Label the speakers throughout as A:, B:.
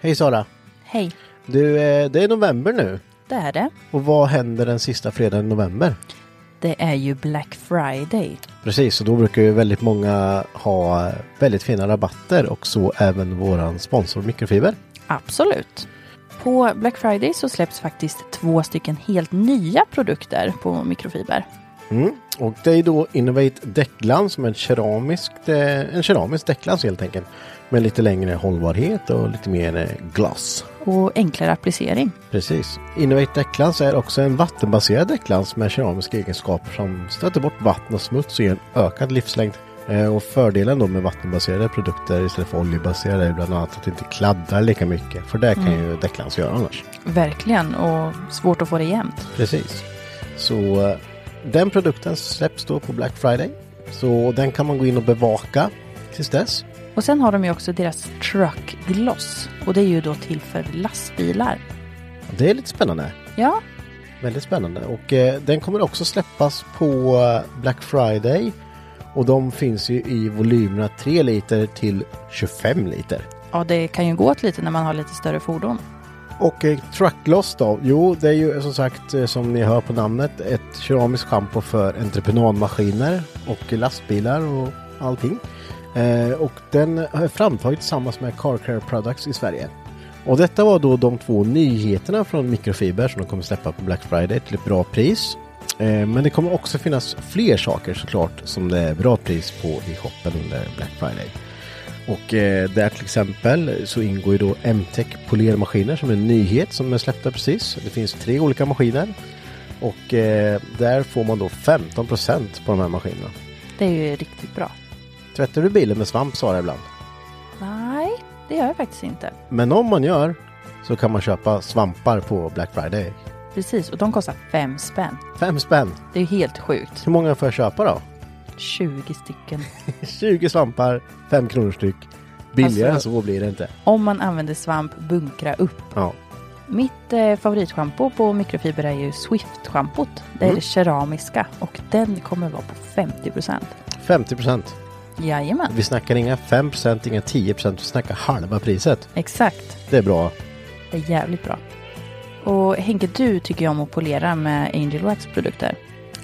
A: Hej Sara!
B: Hej,
A: Du, eh, det är november nu.
B: det är det.
A: Och vad händer den sista fredagen i november?
B: Det är ju Black Friday.
A: Precis, och då brukar ju väldigt många ha väldigt fina rabatter och så även våran sponsor Mikrofiber.
B: Absolut. På Black Friday så släpps faktiskt två stycken helt nya produkter på mikrofiber.
A: Mm. Och det är då Innovate däcklans som är en keramisk, eh, en keramisk däcklans helt enkelt. Med lite längre hållbarhet och lite mer eh, glass.
B: Och enklare applicering.
A: Precis. Innovate däcklans är också en vattenbaserad däcklans med keramiska egenskaper som stöter bort vatten och smuts och ger en ökad livslängd. Eh, Och fördelen då med vattenbaserade produkter istället för oljebaserade är bland annat att det inte kladdar lika mycket. För det kan ju däcklans göra annars.
B: Verkligen, och svårt att få det jämnt.
A: Precis. Så eh, den produkten släpps då på Black Friday. Så den kan man gå in och bevaka tills dess.
B: Och sen har de ju också deras Truck Gloss. Och det är ju då till för lastbilar.
A: Det är lite spännande.
B: Ja,
A: Väldigt spännande. Och eh, den kommer också släppas på eh, Black Friday. Och de finns ju i volymerna 3 liter till 25 liter.
B: ja det kan ju gå åt lite när man har lite större fordon.
A: Och eh, Truckloss då? Jo, det är ju som sagt eh, som ni hör på namnet ett keramiskt schampo för entreprenadmaskiner och lastbilar och allting. Eh, och den är framtagen tillsammans med Car Care Products i Sverige. Och detta var då de två nyheterna från Mikrofiber som de kommer släppa på Black Friday till ett bra pris. Eh, men det kommer också finnas fler saker såklart som det är bra pris på i shoppen under Black Friday. Och eh, där till exempel så ingår ju då MTech polermaskiner som är en nyhet som är släppta precis. Det finns tre olika maskiner. Och eh, där får man då 15% på de här maskinerna.
B: Det är ju riktigt bra.
A: Tvättar du bilen med svamp Sara ibland?
B: Nej, det gör jag faktiskt inte.
A: Men om man gör så kan man köpa svampar på Black Friday.
B: Precis, och de kostar fem spänn.
A: Fem spänn.
B: Det är ju helt sjukt.
A: Hur många får jag köpa då?
B: 20 stycken.
A: 20 svampar, 5 kronor styck. Billigare
B: Alltså-
A: än så blir det inte.
B: Om man använder svamp, bunkra upp.
A: Ja,
B: Mitt eh, favoritschampo på mikrofiber är ju Swift-schampot. Det är
A: Mm.
B: det keramiska och den kommer vara på 50%.
A: 50%.
B: Jajamän,
A: Vi snackar inga 5%, inga 10%. Vi snackar halva priset.
B: exakt.
A: Det är bra.
B: Det är jävligt bra. Och Henke, du tycker ju om att polera med Angel Wax produkter.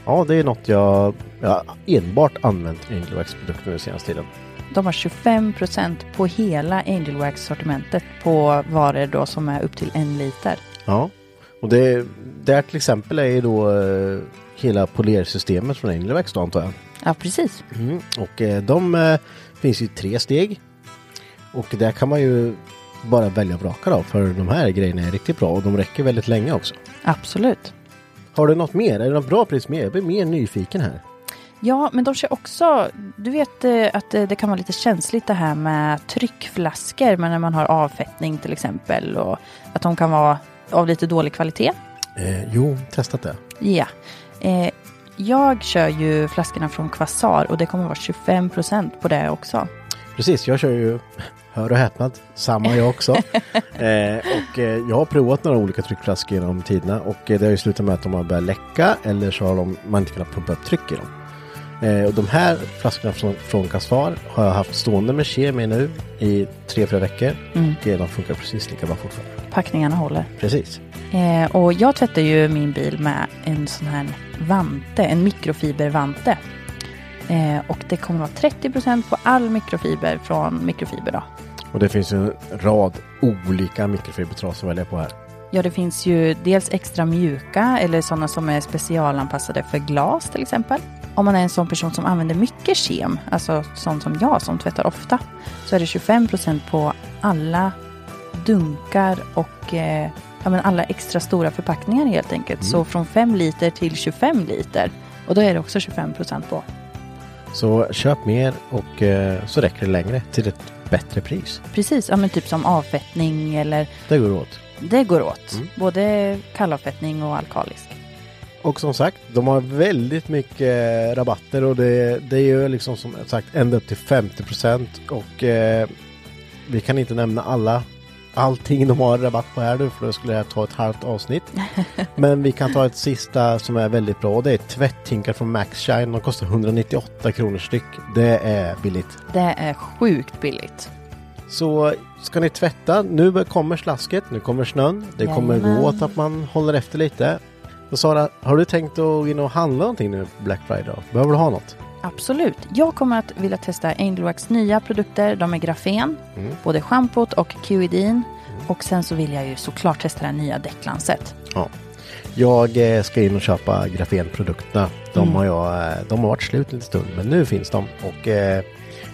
A: Ja, det är något jag, jag enbart använt Angel Wax produkter den senaste tiden.
B: De har 25% på hela Angel Wax sortimentet på varor då som är upp till en liter.
A: Ja, och det där till exempel är ju då eh, hela polersystemet från Angel Wax då antar jag.
B: Ja, precis.
A: Mm. Och eh, de eh, finns ju i tre steg. Och där kan man ju bara välja och vraka då, för de här grejerna är riktigt bra och de räcker väldigt länge också.
B: Absolut.
A: Har du något mer? Är det något bra pris mer? Jag blir mer nyfiken här.
B: Ja, men de kör också... Du vet eh, att eh, det kan vara lite känsligt det här med tryckflaskor, men när man har avfettning till exempel och att de kan vara av lite dålig kvalitet.
A: Eh, jo, testat det.
B: Ja. Eh, jag kör ju flaskorna från Quasar och det kommer vara 25 på det också.
A: Precis, jag kör ju, hör och häpnad, samma jag också. eh, och eh, jag har provat några olika tryckflaskor genom tiderna och eh, det har ju slutat med att de har börjat läcka eller så har de, man inte kunnat pumpa upp tryck i dem. Eh, och de här flaskorna från, från Caspar har jag haft stående med kemi nu i tre, fyra veckor. Och eh, de funkar precis lika bra fortfarande.
B: Packningarna håller.
A: Precis.
B: Eh, och jag tvättar ju min bil med en sån här vante, en mikrofibervante. Eh, och det kommer vara 30% på all mikrofiber från mikrofiber då.
A: Och det finns en rad olika mikrofibertras att välja på här.
B: Ja, det finns ju dels extra mjuka eller sådana som är specialanpassade för glas till exempel. Om man är en sån person som använder mycket kem, alltså sån som jag som tvättar ofta, så är det 25% på alla dunkar och eh, ja, men alla extra stora förpackningar helt enkelt. Så från 5 liter till 25 liter. Och då är det också 25% på.
A: Så köp mer och eh, så räcker det längre till ett bättre pris.
B: Precis, ja, men typ som avfettning eller
A: Det går åt.
B: det går åt. Både kallavfettning och alkalisk.
A: Och som sagt, de har väldigt mycket eh, rabatter och det, det är ju liksom som sagt ända upp till 50 procent och eh, vi kan inte nämna alla allting de har rabatt på här nu för då skulle det här ta ett halvt avsnitt. Men vi kan ta ett sista som är väldigt bra och det är tvättinkar från Max Shine. De kostar 198 kronor styck. Det är billigt.
B: Det är sjukt billigt.
A: Så ska ni tvätta, nu kommer slasket, nu kommer snön. Det kommer
B: Jajamän.
A: gå åt att man håller efter lite. Och Sara, har du tänkt att gå in och handla någonting nu Black Friday? Behöver du ha något?
B: Absolut. Jag kommer att vilja testa Angelwax nya produkter. De är grafen,
A: Mm.
B: både schampot och QEDin. Och sen så vill jag ju såklart testa det här nya däcklanset.
A: Ja. Jag eh, ska in och köpa grafenprodukterna. De, har jag, eh, de har varit slut en stund men nu finns de och eh,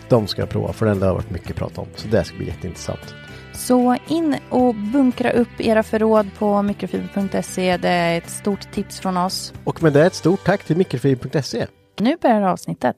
A: de ska jag prova för den har det varit mycket prat om. Så det ska bli jätteintressant.
B: Så in och bunkra upp era förråd på mikrofiber.se. Det är ett stort tips från oss.
A: Och med det ett stort tack till mikrofiber.se.
B: Nu börjar avsnittet.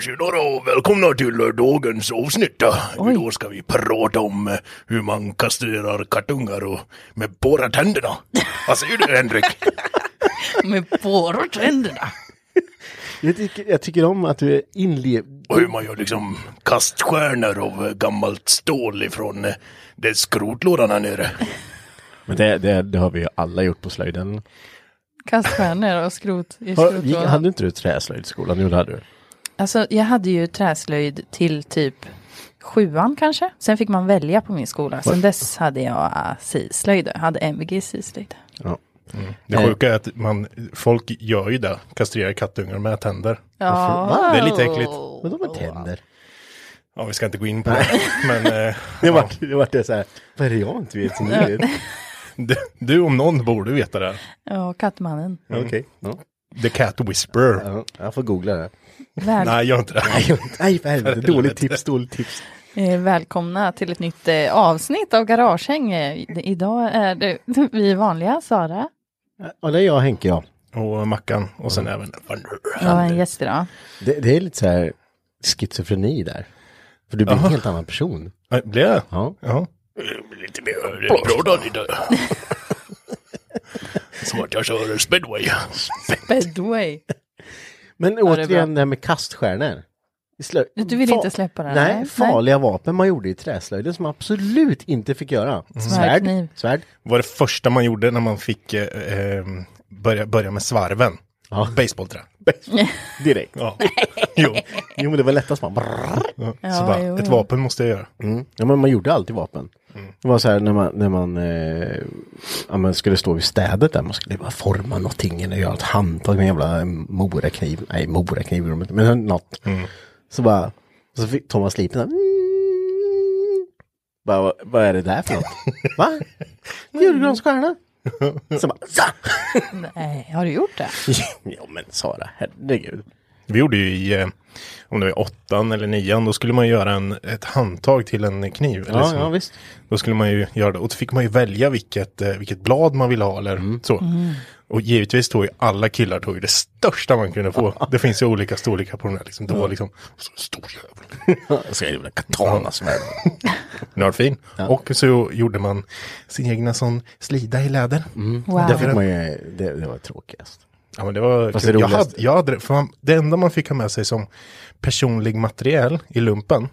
C: Tjenare och välkomna till eh, dagens avsnitt.
B: Oj.
C: Då ska vi prata om eh, hur man kastrerar kattungar och med båda tänderna. Vad säger du Henrik?
B: Med båda tänderna.
A: Jag tycker, jag tycker om att du är inlev...
C: Och hur man gör liksom kaststjärnor av eh, gammalt stål ifrån eh, det skrotlådan här nere.
A: Men det, det, det har vi ju alla gjort på slöjden.
B: Kaststjärnor och skrot i
A: Har, gick-
B: skrotlådan.
A: hade inte du träslöjd i skolan? Jo, det hade du.
B: Alltså, jag hade ju träslöjd till typ sjuan kanske. Sen fick man välja på min skola. Sen dess hade jag äh, syslöjd. Jag hade MVG syslöjd.
A: Ja.
D: Det sjuka är att man, folk gör ju det, kastrerar kattungar med tänder.
A: Va?
D: Det är lite äckligt.
A: Men de är tänder.
D: Ja, vi ska inte gå in på det. Men eh,
A: Det vart det, var det så här, vad är det jag inte vet som du vet?
D: du, du om någon borde veta det.
B: Ja, Kattmannen.
A: Okej. Ja.
D: The Cat Whisperer.
A: Ja, jag får googla det.
B: Väl,
D: Nej, gör inte det.
A: Nej, för helvete. Dåligt
D: helvete.
A: tips, dåligt tips.
B: eh, välkomna till ett nytt eh, avsnitt av Garagehäng. Eh, i- Idag är det vi vanliga, Sara.
A: Ja, det är jag och Henke, ja.
D: Och Mackan. Och sen
C: Mm.
D: även...
B: Jag har en gäst idag.
A: Det, det är lite så här schizofreni där. För du blir en helt annan person.
D: Nej, Blir det?
A: Ja.
D: Ja.
C: Eh, Lite mer eh, prata lite. Så att jag kör speedway.
B: Bedway.
A: Men
B: det är
A: återigen det här med kaststjärnor. I slö-
B: Du vill
A: fa-
B: inte släppa det här,
A: Nej,
B: nej.
A: farliga vapen man gjorde i träslöjden som man absolut inte fick göra. Svärd,
B: Kniv.
A: svärd.
D: var det första man gjorde när man fick eh, eh, börja, börja med svarven.
A: Ja.
D: Baseballträ.
A: Direkt.
D: Ja. jo.
A: Jo, men det var lättast man. Brrr.
D: Ja.
B: Ja,
D: Så bara,
B: jo,
D: ett
B: jo.
D: vapen måste jag göra.
A: Mm. Ja, men man gjorde alltid vapen. Det var så här när man, när man, eh, ja, man skulle stå vid städet där, man skulle bara forma någonting eller göra ett handtag med en jävla morakniv. Nej, morakniv gjorde de inte, men något. Så bara, så fick Thomas liten där, mm. bara, vad, vad är det där för något? Va? Julgransstjärna? Så bara, "Za!"
B: Nej, Eh, har du gjort det?
A: Ja men Sara, herregud.
D: Vi gjorde ju i, eh, om det var i åttan eller nian, då skulle man ju göra en, ett handtag till en kniv. eller
A: Ja,
D: så.
A: ja visst.
C: Mm.
D: Då skulle man ju göra det. Och då fick man ju välja vilket, eh, vilket blad man ville ha eller så. Och givetvis tog ju alla killar tog ju det största man kunde få. Det finns ju olika storlekar på den här liksom. Det var liksom, så stor jävel.
C: Jag ska ju en katana som är...
D: Nördfin. Och så gjorde man sin egna sån slida i läder.
C: Mm.
B: Wow.
A: Det, fick man ju, det, det var tråkigast.
D: Ja, men det var
A: Fast
D: kul.
A: det
D: jag
A: roligaste-
D: hade, jag hade, det- för man, det enda man fick ha med sig som personlig materiel i lumpen,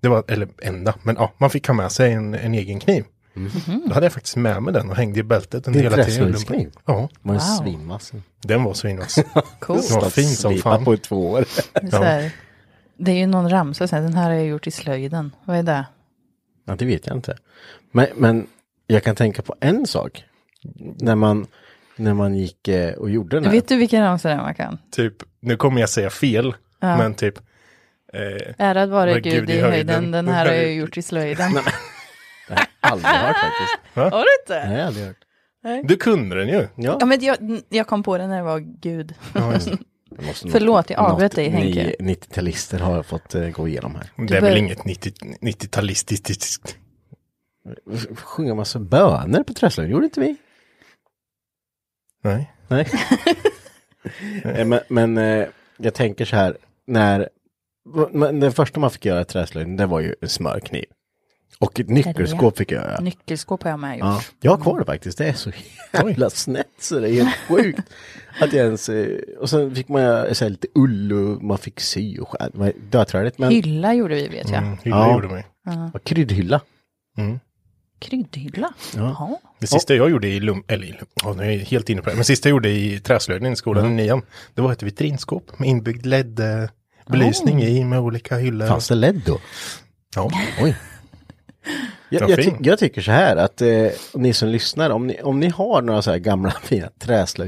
D: det var, eller enda, men ja, man fick ha med sig en, en egen kniv.
A: Mm.
B: Mhm.
D: Då hade jag faktiskt med mig den och hängde i bältet en
A: Din
D: hela tiden. i
A: fräsningskniv?
D: lumpen. Ja,
A: Man wow.
B: Wow.
A: svimmas.
D: den var svinvass.
B: Cool.
D: Den var fin som
A: Slipat
D: fan.
A: på i två år.
B: Så här, det är ju någon ramsa sen, den här har jag gjort i slöjden. Vad är det?
A: Ja, det vet jag inte. Men, men jag kan tänka på en sak. När man, när man gick eh, och gjorde den här.
B: Vet du vilken ramsa det är man kan?
D: Typ, nu kommer jag säga fel, men typ,
B: Ärad vare
D: Men
B: Gud, i höjden, den här har jag gjort i slöjden.
A: Aldrig hört faktiskt.
B: Har du inte?
A: Nej, jag har aldrig hört.
D: du kunde den ju.
B: Ja, men jag, jag kom på det när det var Gud.
A: Det måste nog-
B: Förlåt, jag avbröt
A: något
B: dig, Henke.
A: ni- 90-talister har jag fått eh, gå igenom här.
D: det är
B: bör-
D: väl inget 90 90-talistiskt.
A: Sjunga massa böner på tröskeln, gjorde inte vi?
D: Nej.
A: Nej. Eh, men men eh, jag tänker så här, när... Men det första man fick göra i träslöjden, det var ju en smörkniv. Och ett nyckelskåp fick jag göra.
B: Nyckelskåp har jag med gjort.
A: Ja, jag har kvar det faktiskt. Det är så jävla snett så det är helt sjukt. Att jag ens, eh, och sen fick man göra så här, lite ull och man fick sy och skär. Det var döträligt men
B: Hylla gjorde vi vet jag.
D: Mm, hylla
A: Ja.
D: gjorde mig.
A: och kryddhylla.
B: Kryddhylla. Ja.
D: Det sista jag gjorde i lum, eller i lum, ja, nu är jag helt inne på det, men sista jag gjorde i träslöjden i skolan
A: Mm.
D: i nian, det var ett vitrinskåp med inbyggd LED-belysning
A: Oh.
D: i med olika hyllor.
A: Fanns det LED då?
D: Ja.
A: Oj. Jag,
D: Vad
A: jag, ty
D: fin.
A: jag tycker så här att eh, ni som lyssnar, om ni, om ni har några så här gamla fina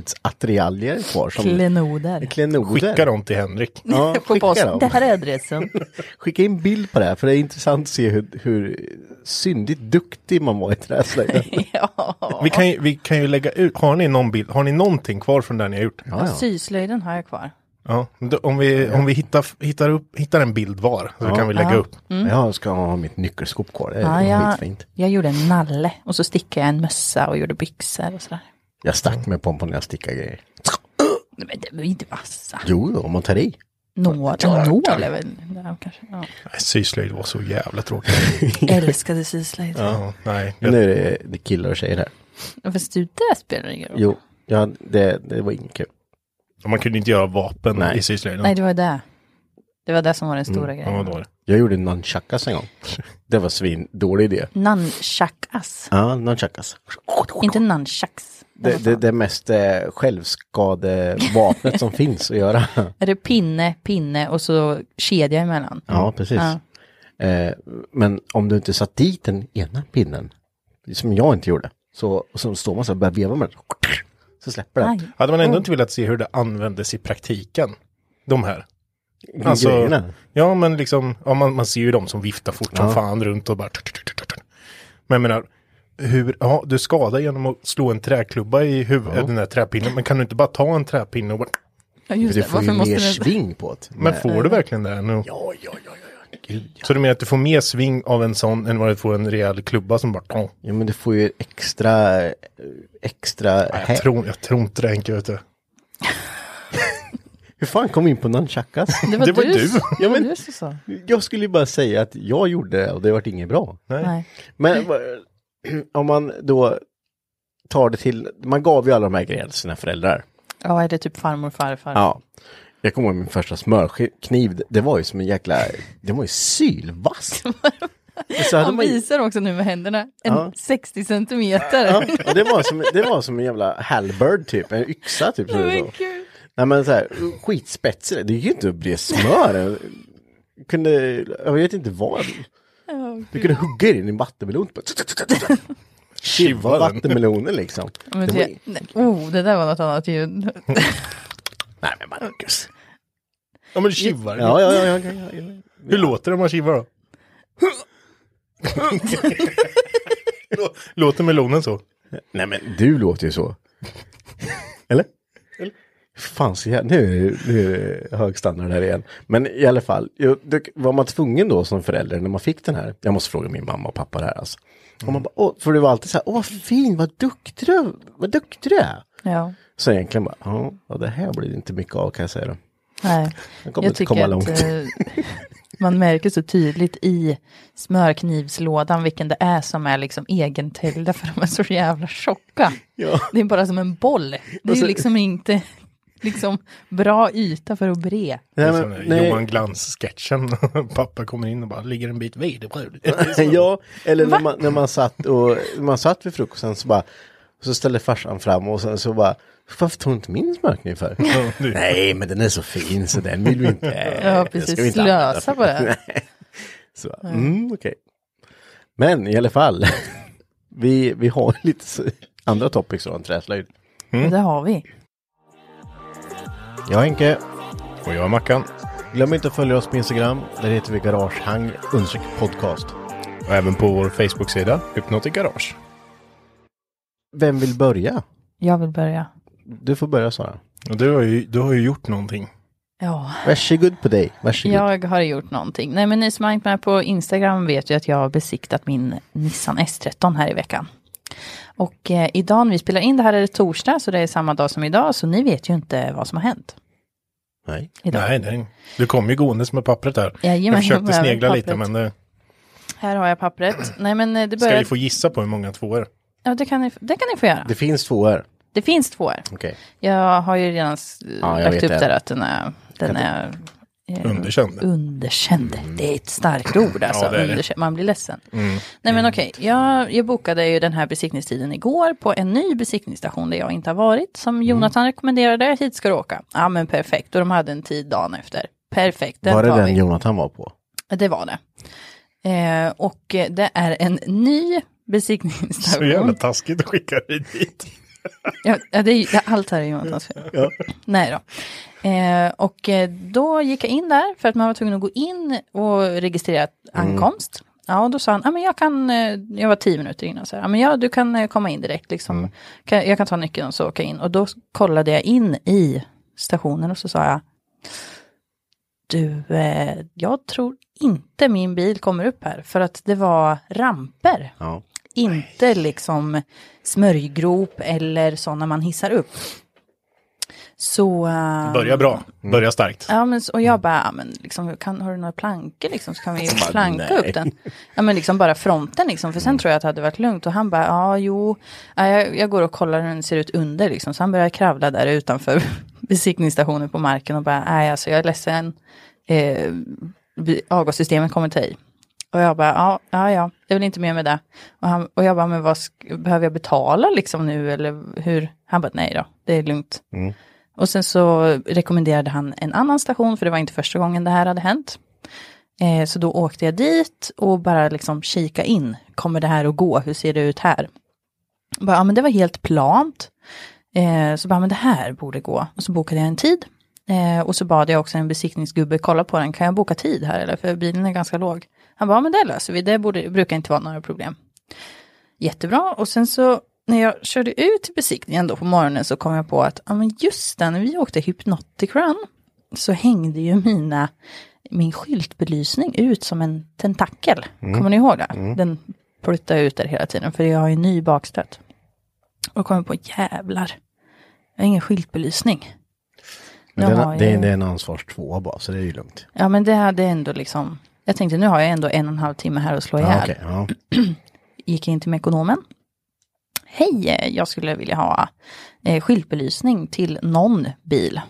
A: träslöjdsattiraljer kvar som
B: Klenoder.
A: klenoder.
D: Skicka dem till Henrik.
A: Ja,
B: På
A: skicka,
B: posten. Det
A: dem.
B: här är adressen.
A: skicka in bild på det här för det är intressant att se hur, hur syndigt duktig man var i träslöjden.
B: ja.
D: Vi, kan ju, vi kan ju lägga ut, har ni någon bild, har ni någonting kvar från den ni har gjort?
A: Ja, ja.
B: Syslöjden har jag kvar.
D: Ja, då- om vi, om vi hittar, hittar, upp, hittar en bild var så kan vi lägga upp.
A: Jag ska ha mitt nyckelskåp kvar, det är
B: Mm. Ja, jag,
A: skitfint.
B: jag gjorde en nalle och så stickade jag en mössa och gjorde byxor och sådär.
A: Jag stack med pompon när jag stickade grejer.
B: Nej, Men det var ju inte vassa.
A: Jo, om man tar i.
B: Nål, nål är väl där kanske. Ja.
D: Nej, Syslöjd var så jävla tråkigt.
B: Älskade syslöjd.
D: ja, nej.
A: Men nu är det, det är killar och tjejer här.
B: Fast du, det spelar ingen roll.
A: Jo, ja, det, det var inget kul.
D: Man kunde inte göra vapen
A: Nej.
D: i syslöjden.
B: Nej, det var det. Det var det som var den
A: Mm.
B: stora
D: Ja, vad
B: grejen.
D: var det?
A: Jag gjorde nunchakas en gång. Det var svin, dålig idé.
B: Nunchakas.
A: Ja, nunchakas.
B: Inte nunchucks.
A: Det, det, det mest eh, självskadevapnet som finns att göra.
B: Är det pinne, pinne och så kedja emellan?
A: Ja, precis.
B: Mm. Ja.
A: Eh, men om du inte satt dit den ena pinnen, som jag inte gjorde, så, så står man så här och börjar veva med den. Så släpper den.
B: Aj.
D: Hade man
A: Mm.
D: ändå inte velat se hur det användes i praktiken? De här.
A: Alltså-
D: Alltså-
A: Grejerna.
D: ja men liksom, ja, man, man ser ju de som viftar fort som fan runt och bara... Men jag menar, hur, ja du skadar genom att slå en träklubba i huvudet, den här träpinnen, men kan du inte bara ta en träpinne och bara,
A: För
B: Ja, just
A: du
B: det.
A: får
B: Varför
A: ju
B: måste
A: mer
B: den...
A: sving på det.
D: men får du verkligen det? Nu?
A: Ja, ja, ja, ja, ja. Gud, ja.
D: Så du menar att du får mer sving av en sån än vad du får en rejäl klubba som bara, "Tong."
A: ja, men du får ju extra, eh, extra... hä-
D: jag tror, jag tror inte det Henke, vet du.
A: Hur fan kom vi in på nunchakas?
B: Det var,
D: Det var du.
B: du.
A: Ja,
B: Ja,
A: men-
B: men... du som sa.
A: jag skulle ju bara säga att jag gjorde det och det vart inget bra.
B: Nej.
A: Men va- om man då tar det till, man gav ju alla de här grejerna till sina föräldrar.
B: Ja, är det typ farmor och farfar?
A: Ja. Jag kommer ihåg min första smörkniv, det var ju som en jäkla, det var ju sylvass. Så hade
B: Han
A: man ju-
B: visar också nu med händerna. En
A: Ja.
B: 60 centimeter.
A: Ja, och det, var som, det var som en jävla halberd typ, en yxa typ. Så,
B: Men
A: så.
B: gud.
A: Nej men så här, skitspetsig, det gick ju inte att bre smör. Jag Kunde, jag vet inte vad. Du kunde hugga i din i en vattenmelon. Kiva vattenmelonen liksom.
B: Men
A: Det var-
B: det, nej. Oh, det där var något annat ljud.
A: Nej men Marcus.
D: Ja men kivar,
A: Ja, ja, ja, ja, ja, ja, ja.
D: hur låter det om man kivar då? Lå- Låter melonen så?
A: Nej men du låter ju så. Eller? Fan, så jävla, nu, är det- nu är det hög standard här igen. Men i alla fall, jo, det- var man tvungen då som förälder när man fick den här? Jag måste fråga min mamma och pappa det här alltså.
D: Mm.
A: Och man bara, åh, för det var alltid så här, åh vad fin, vad duktig du, vad duktig du är.
B: Ja.
A: Så egentligen bara, ja, ja, det här blir det inte mycket av kan jag säga. då.
B: Nej.
A: Den kommer inte komma långt.
B: eh, man märker så tydligt i smörknivslådan vilken det är som är liksom egentäljda för de är så jävla tjocka.
A: Ja.
B: Det är bara som en boll. Det är ju liksom inte liksom bra yta för att bre.
D: Nej,
A: Nej, men, nej,
D: Johan Glans-sketchen. Pappa kommer in och bara ligger en bit vid.
A: ja, eller när man, när man satt och man satt vid frukosten så bara, så ställde farsan fram och sen så bara, varför tog du inte min smörkniv för? Nej, men den är så fin så den vill vi inte.
B: Ja,
A: den ska
B: precis.
A: vi inte använda
B: Slösa
A: för."
B: på det.
A: Så, mm, okej. Men i alla fall, vi, vi har lite s- andra topics från träslöjd.
B: Och Det har vi.
A: Jag Henke,
D: Och jag Mackan.
A: glöm inte att följa oss på Instagram. Där heter vi Garagehang understreck podcast.
D: Och även på vår Facebook-sida, Hypnotic Garage.
A: Vem vill börja?
B: Jag vill börja.
A: Du får börja Sara.
D: Och du har ju, du har ju gjort någonting.
B: Ja.
A: Varsågod på dig. Varsågod.
B: Jag har gjort någonting. Nej, men ni som har hängt med på Instagram vet ju att jag har besiktat min Nissan S13 här i veckan. Och eh, idag när vi spelar in det här är det torsdag, så det är samma dag som idag, så ni vet ju inte vad som har hänt.
A: Nej.
B: Idag.
D: Nej, nej. Du kom ju gåendes med pappret här.
B: Jajamän,
D: jag
B: jag
D: försökte
B: behöver
D: snegla lite,
B: pappret.
D: men det
B: Här har jag pappret. Nej, men eh, det
D: ska
B: börjar...
D: vi få gissa på hur många tvåor.
B: Ja, det kan ni, det kan ni få göra.
A: Det finns två här.
B: Det finns två här.
A: Okej.
B: Jag har ju redan s-
A: Ja, jag
B: lagt
A: vet
B: upp
A: det.
B: där att den är, den är eh,
D: Underkänd.
B: underkänd. Det är ett starkt ord alltså.
D: Ja, det Mm. är det.
B: underkänd. Man blir ledsen. Nej men okej, jag, jag bokade ju den här besiktningstiden igår på en ny besiktningsstation där jag inte har varit.
D: Mm.
B: Som Jonathan rekommenderade, hit ska du åka. Ja men perfekt, och de hade en tid dagen efter. Perfekt, den
A: Var det
B: tar
A: den
B: vi.
A: Jonathan var på?
B: Det var det. Eh, och eh, det är en ny
D: Så jävla
B: besiktningsstation.
D: taskigt att skicka dig dit.
B: Ja, ja, det är, ju- ja, allt här är Jonathans fel. Nej då. Eh, och eh, då gick jag in där för att man var tvungen att gå in och registrera ankomst. Ja, och då sa han, ah, men jag kan, eh, jag var tio minuter innan, så här, ah, men ja, du kan eh, komma in direkt, liksom. kan, jag kan ta nyckeln och så åka in. Och då kollade jag in i stationen och så sa jag, du, eh, jag tror inte min bil kommer upp här, för att det var ramper.
A: Ja.
B: Inte liksom smörjgrop eller sådana man hissar upp. Så... eh,
D: Börja bra, börja starkt.
B: Ja, men, s- och jag bara, ja, men, liksom, kan, har du några plankor liksom, så kan vi ju planka upp den. Ja, men liksom bara fronten liksom, för sen tror jag att det hade varit lugnt. Och han bara, ja, jo, ja, jag, jag går och kollar hur den ser ut under liksom. Så han börjar kravla där utanför besiktningsstationen på marken och bara, nej, alltså jag är ledsen, eh, bi- avgassystemet kommer till dig. Och jag bara, ja, ja, ja, jag vill inte mer med det. Och, han, och jag bara, men vad sk- behöver jag betala liksom nu eller hur? Han bara, nej då, det är lugnt. Och sen så rekommenderade han en annan station, för det var inte första gången det här hade hänt. Eh, så då åkte jag dit och bara liksom kika in. Kommer det här att gå? Hur ser det ut här? Bara, ja, men det var helt plant. Eh, så bara, men det här borde gå. Och så bokade jag en tid. Eh, och så bad jag också en besiktningsgubbe kolla på den. Kan jag boka tid här eller? För bilen är ganska låg. Han bara, ja, men det löser vi. Det borde, brukar inte vara några problem. Jättebra. Och sen så när jag körde ut till besiktningen då på morgonen så kom jag på att, ja men just det, när vi åkte Hypnotic Run så hängde ju mina, min skyltbelysning ut som en tentakel.
A: Mm.
B: Kommer ni ihåg det? Den pluttade ut där hela tiden för jag har ju ny bakstöt. Och kommer på, jävlar, jag har ingen skyltbelysning.
A: Men
B: Nu
A: den,
B: har jag
A: det,
B: ju-
A: är, det är en ansvars tvåa bara, så det är ju lugnt.
B: Ja men det hade ändå liksom, jag tänkte nu har jag ändå en och en halv timme här att slå ihjäl.
A: okej, ja.
B: gick in till ekonomen. Hej, eh, jag skulle vilja ha eh, skyltbelysning till någon bil.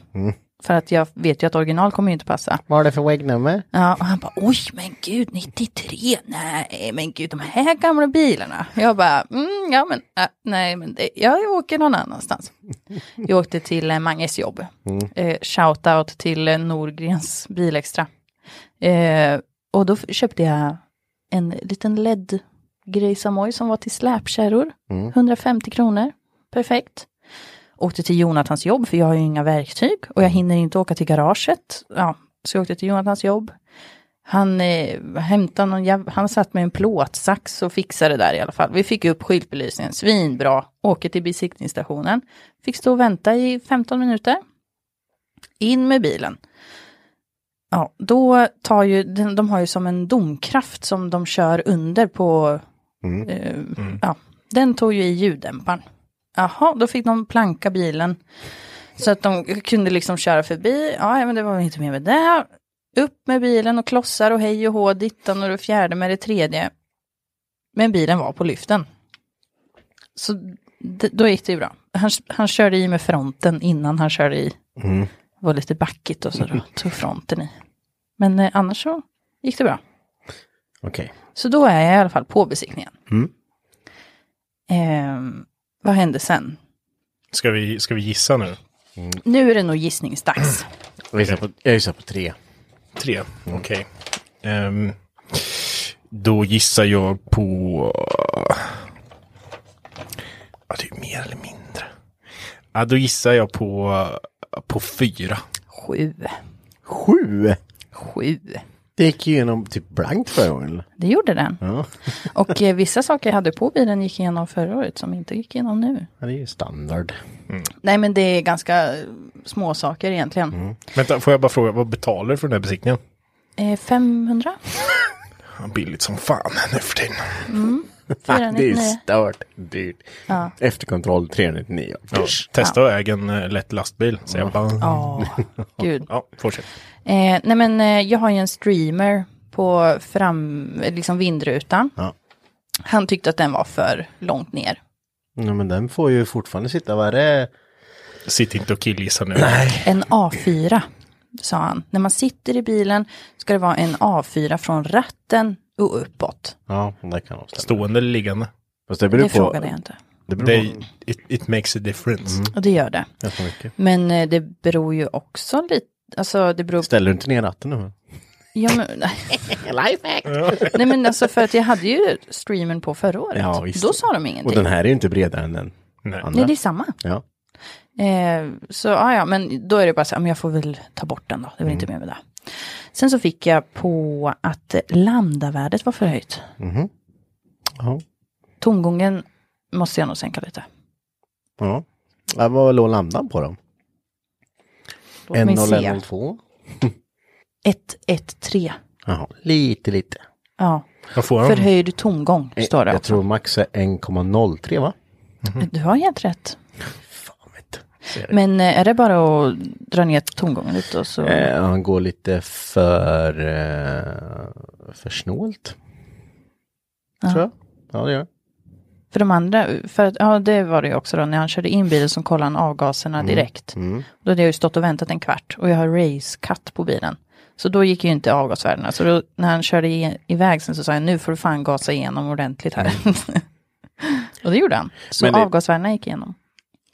B: För att jag vet ju att original kommer ju inte passa.
A: Vad är det för vägnummer?
B: Ja, och han bara, oj men gud, 93, nej men gud, de här gamla bilarna. Jag bara, mm, ja men, äh, nej men det, jag åker någon annanstans. Jag åkte till eh, Manges jobb. Eh, Shoutout till eh, Norgrens bilextra. Eh, och då f- köpte jag en liten LED-grej Samoj som var till släpkärror. 150 kronor, perfekt åkte till Jonathans jobb, för jag har ju inga verktyg och jag hinner inte åka till garaget. Ja, så jag åkte till Jonathans jobb. Han eh, hämtade någon, jäv- han satt med en plåtsax och fixade det där i alla fall. Vi fick upp skyltbelysningen, svinbra. Åker till besiktningsstationen. Fick stå och vänta i 15 minuter. In med bilen. Ja, då tar ju, den- de har ju som en domkraft som de kör under på, eh, ja, den tog ju i ljuddämparen. Jaha, då fick de planka bilen. Så att de kunde liksom köra förbi. Ja, ja, men det var väl inte mer med det. Upp med bilen och klossar och hej och hå, dittan och det fjärde med det tredje. Men bilen var på lyften. Så d- då gick det ju bra. Han, han körde i med fronten innan han körde i. Det var lite backigt och så då tog fronten i. Men eh, annars så gick det bra.
A: Okej.
B: Så då är jag i alla fall på besiktningen. Ehm, vad hände sen?
D: Ska vi, ska vi gissa nu?
B: Nu är det nog gissningsdags.
A: Jag gissar på, jag gissar på tre.
D: Tre, okej. Ehm, då gissar jag på... Ja, det är ju mer eller mindre. Ja, då gissar jag på, på fyra.
B: Sju.
A: Sju!
B: Sju.
A: Det gick ju igenom typ blankt förra gången. eller?
B: Det gjorde den. Och eh, vissa saker jag hade på bilen gick igenom förra året som inte gick igenom nu.
A: Ja, det är ju standard.
B: Nej men det är ganska eh, små saker egentligen.
A: Mm.
D: Vänta, får jag bara fråga, vad betalar du för den här besiktningen?
B: Eh, 500?
D: Ja, billigt som fan nu för tiden.
A: Fan, det är ju
B: 499.
A: stört dyrt. Efterkontroll 399.
D: Ja, Mm. testa att äga en eh, lätt lastbil, säger jag bara.
B: Ja, gud.
D: Ja, fortsätt.
B: Eh, nej men eh, jag har ju en streamer på fram, eh, liksom vindrutan.
A: Ja.
B: Han tyckte att den var för långt ner.
A: Ja, men den får ju fortfarande sitta, vad är det?
D: Sitt inte och killgissa nu.
B: En A4, sa han. När man sitter i bilen ska det vara en A4 från ratten och uppåt.
A: Ja, det kan nog stämma.
D: Stående eller liggande.
A: Fast det beror
B: Det
A: på.
B: frågade jag inte.
A: Det beror
D: Det,
A: på Mm.
D: it, it makes a difference.
B: Och det gör det.
A: ganska mycket.
B: Men eh, det beror ju också lite, alltså det beror
A: Ställer du inte ner ratten nu?
B: Ja, men, Nej men alltså för att jag hade ju streamen på förra året.
A: Ja, visst.
B: Då sa de
A: Och
B: ingenting.
A: den här är ju inte bredare än den
D: Nej.
A: andra.
B: Nej, det är samma.
A: Ja.
B: Eh, så ja, ja, men då är det bara så här, men jag får väl ta bort den då. Det är
A: Mm.
B: väl inte mer med det. Sen så fick jag på att eh, lambdavärdet var förhöjt.
A: Ja.
B: Tomgången måste jag nog sänka lite.
A: ja. ja vad låg lambdan på då?
B: Låt mig se.
A: 10102?
B: 113.
A: Jaha, lite lite.
B: Ja,
D: Vad får han?
B: förhöjd tomgång står det.
A: Eh, Jag tror max är 1,03 va?
B: Du har helt rätt.
A: Fan vet du.
B: Men eh, är det bara att dra ner tomgången lite och så?
A: Eh, han går lite för, eh, för snålt. Tror jag. Ja, det gör han.
B: För de andra, för att, ja det var det ju också då, när han körde in bilen så kollade han avgaserna
A: Mm.
B: direkt. Då hade jag ju stått och väntat en kvart och jag har race-cut på bilen. Så då gick ju inte avgasvärdena. Så då, när han körde i, iväg sen så sa jag nu får du fan gasa igenom ordentligt här. och det gjorde han. Så
A: Mm. Men det-
B: avgasvärdena gick igenom.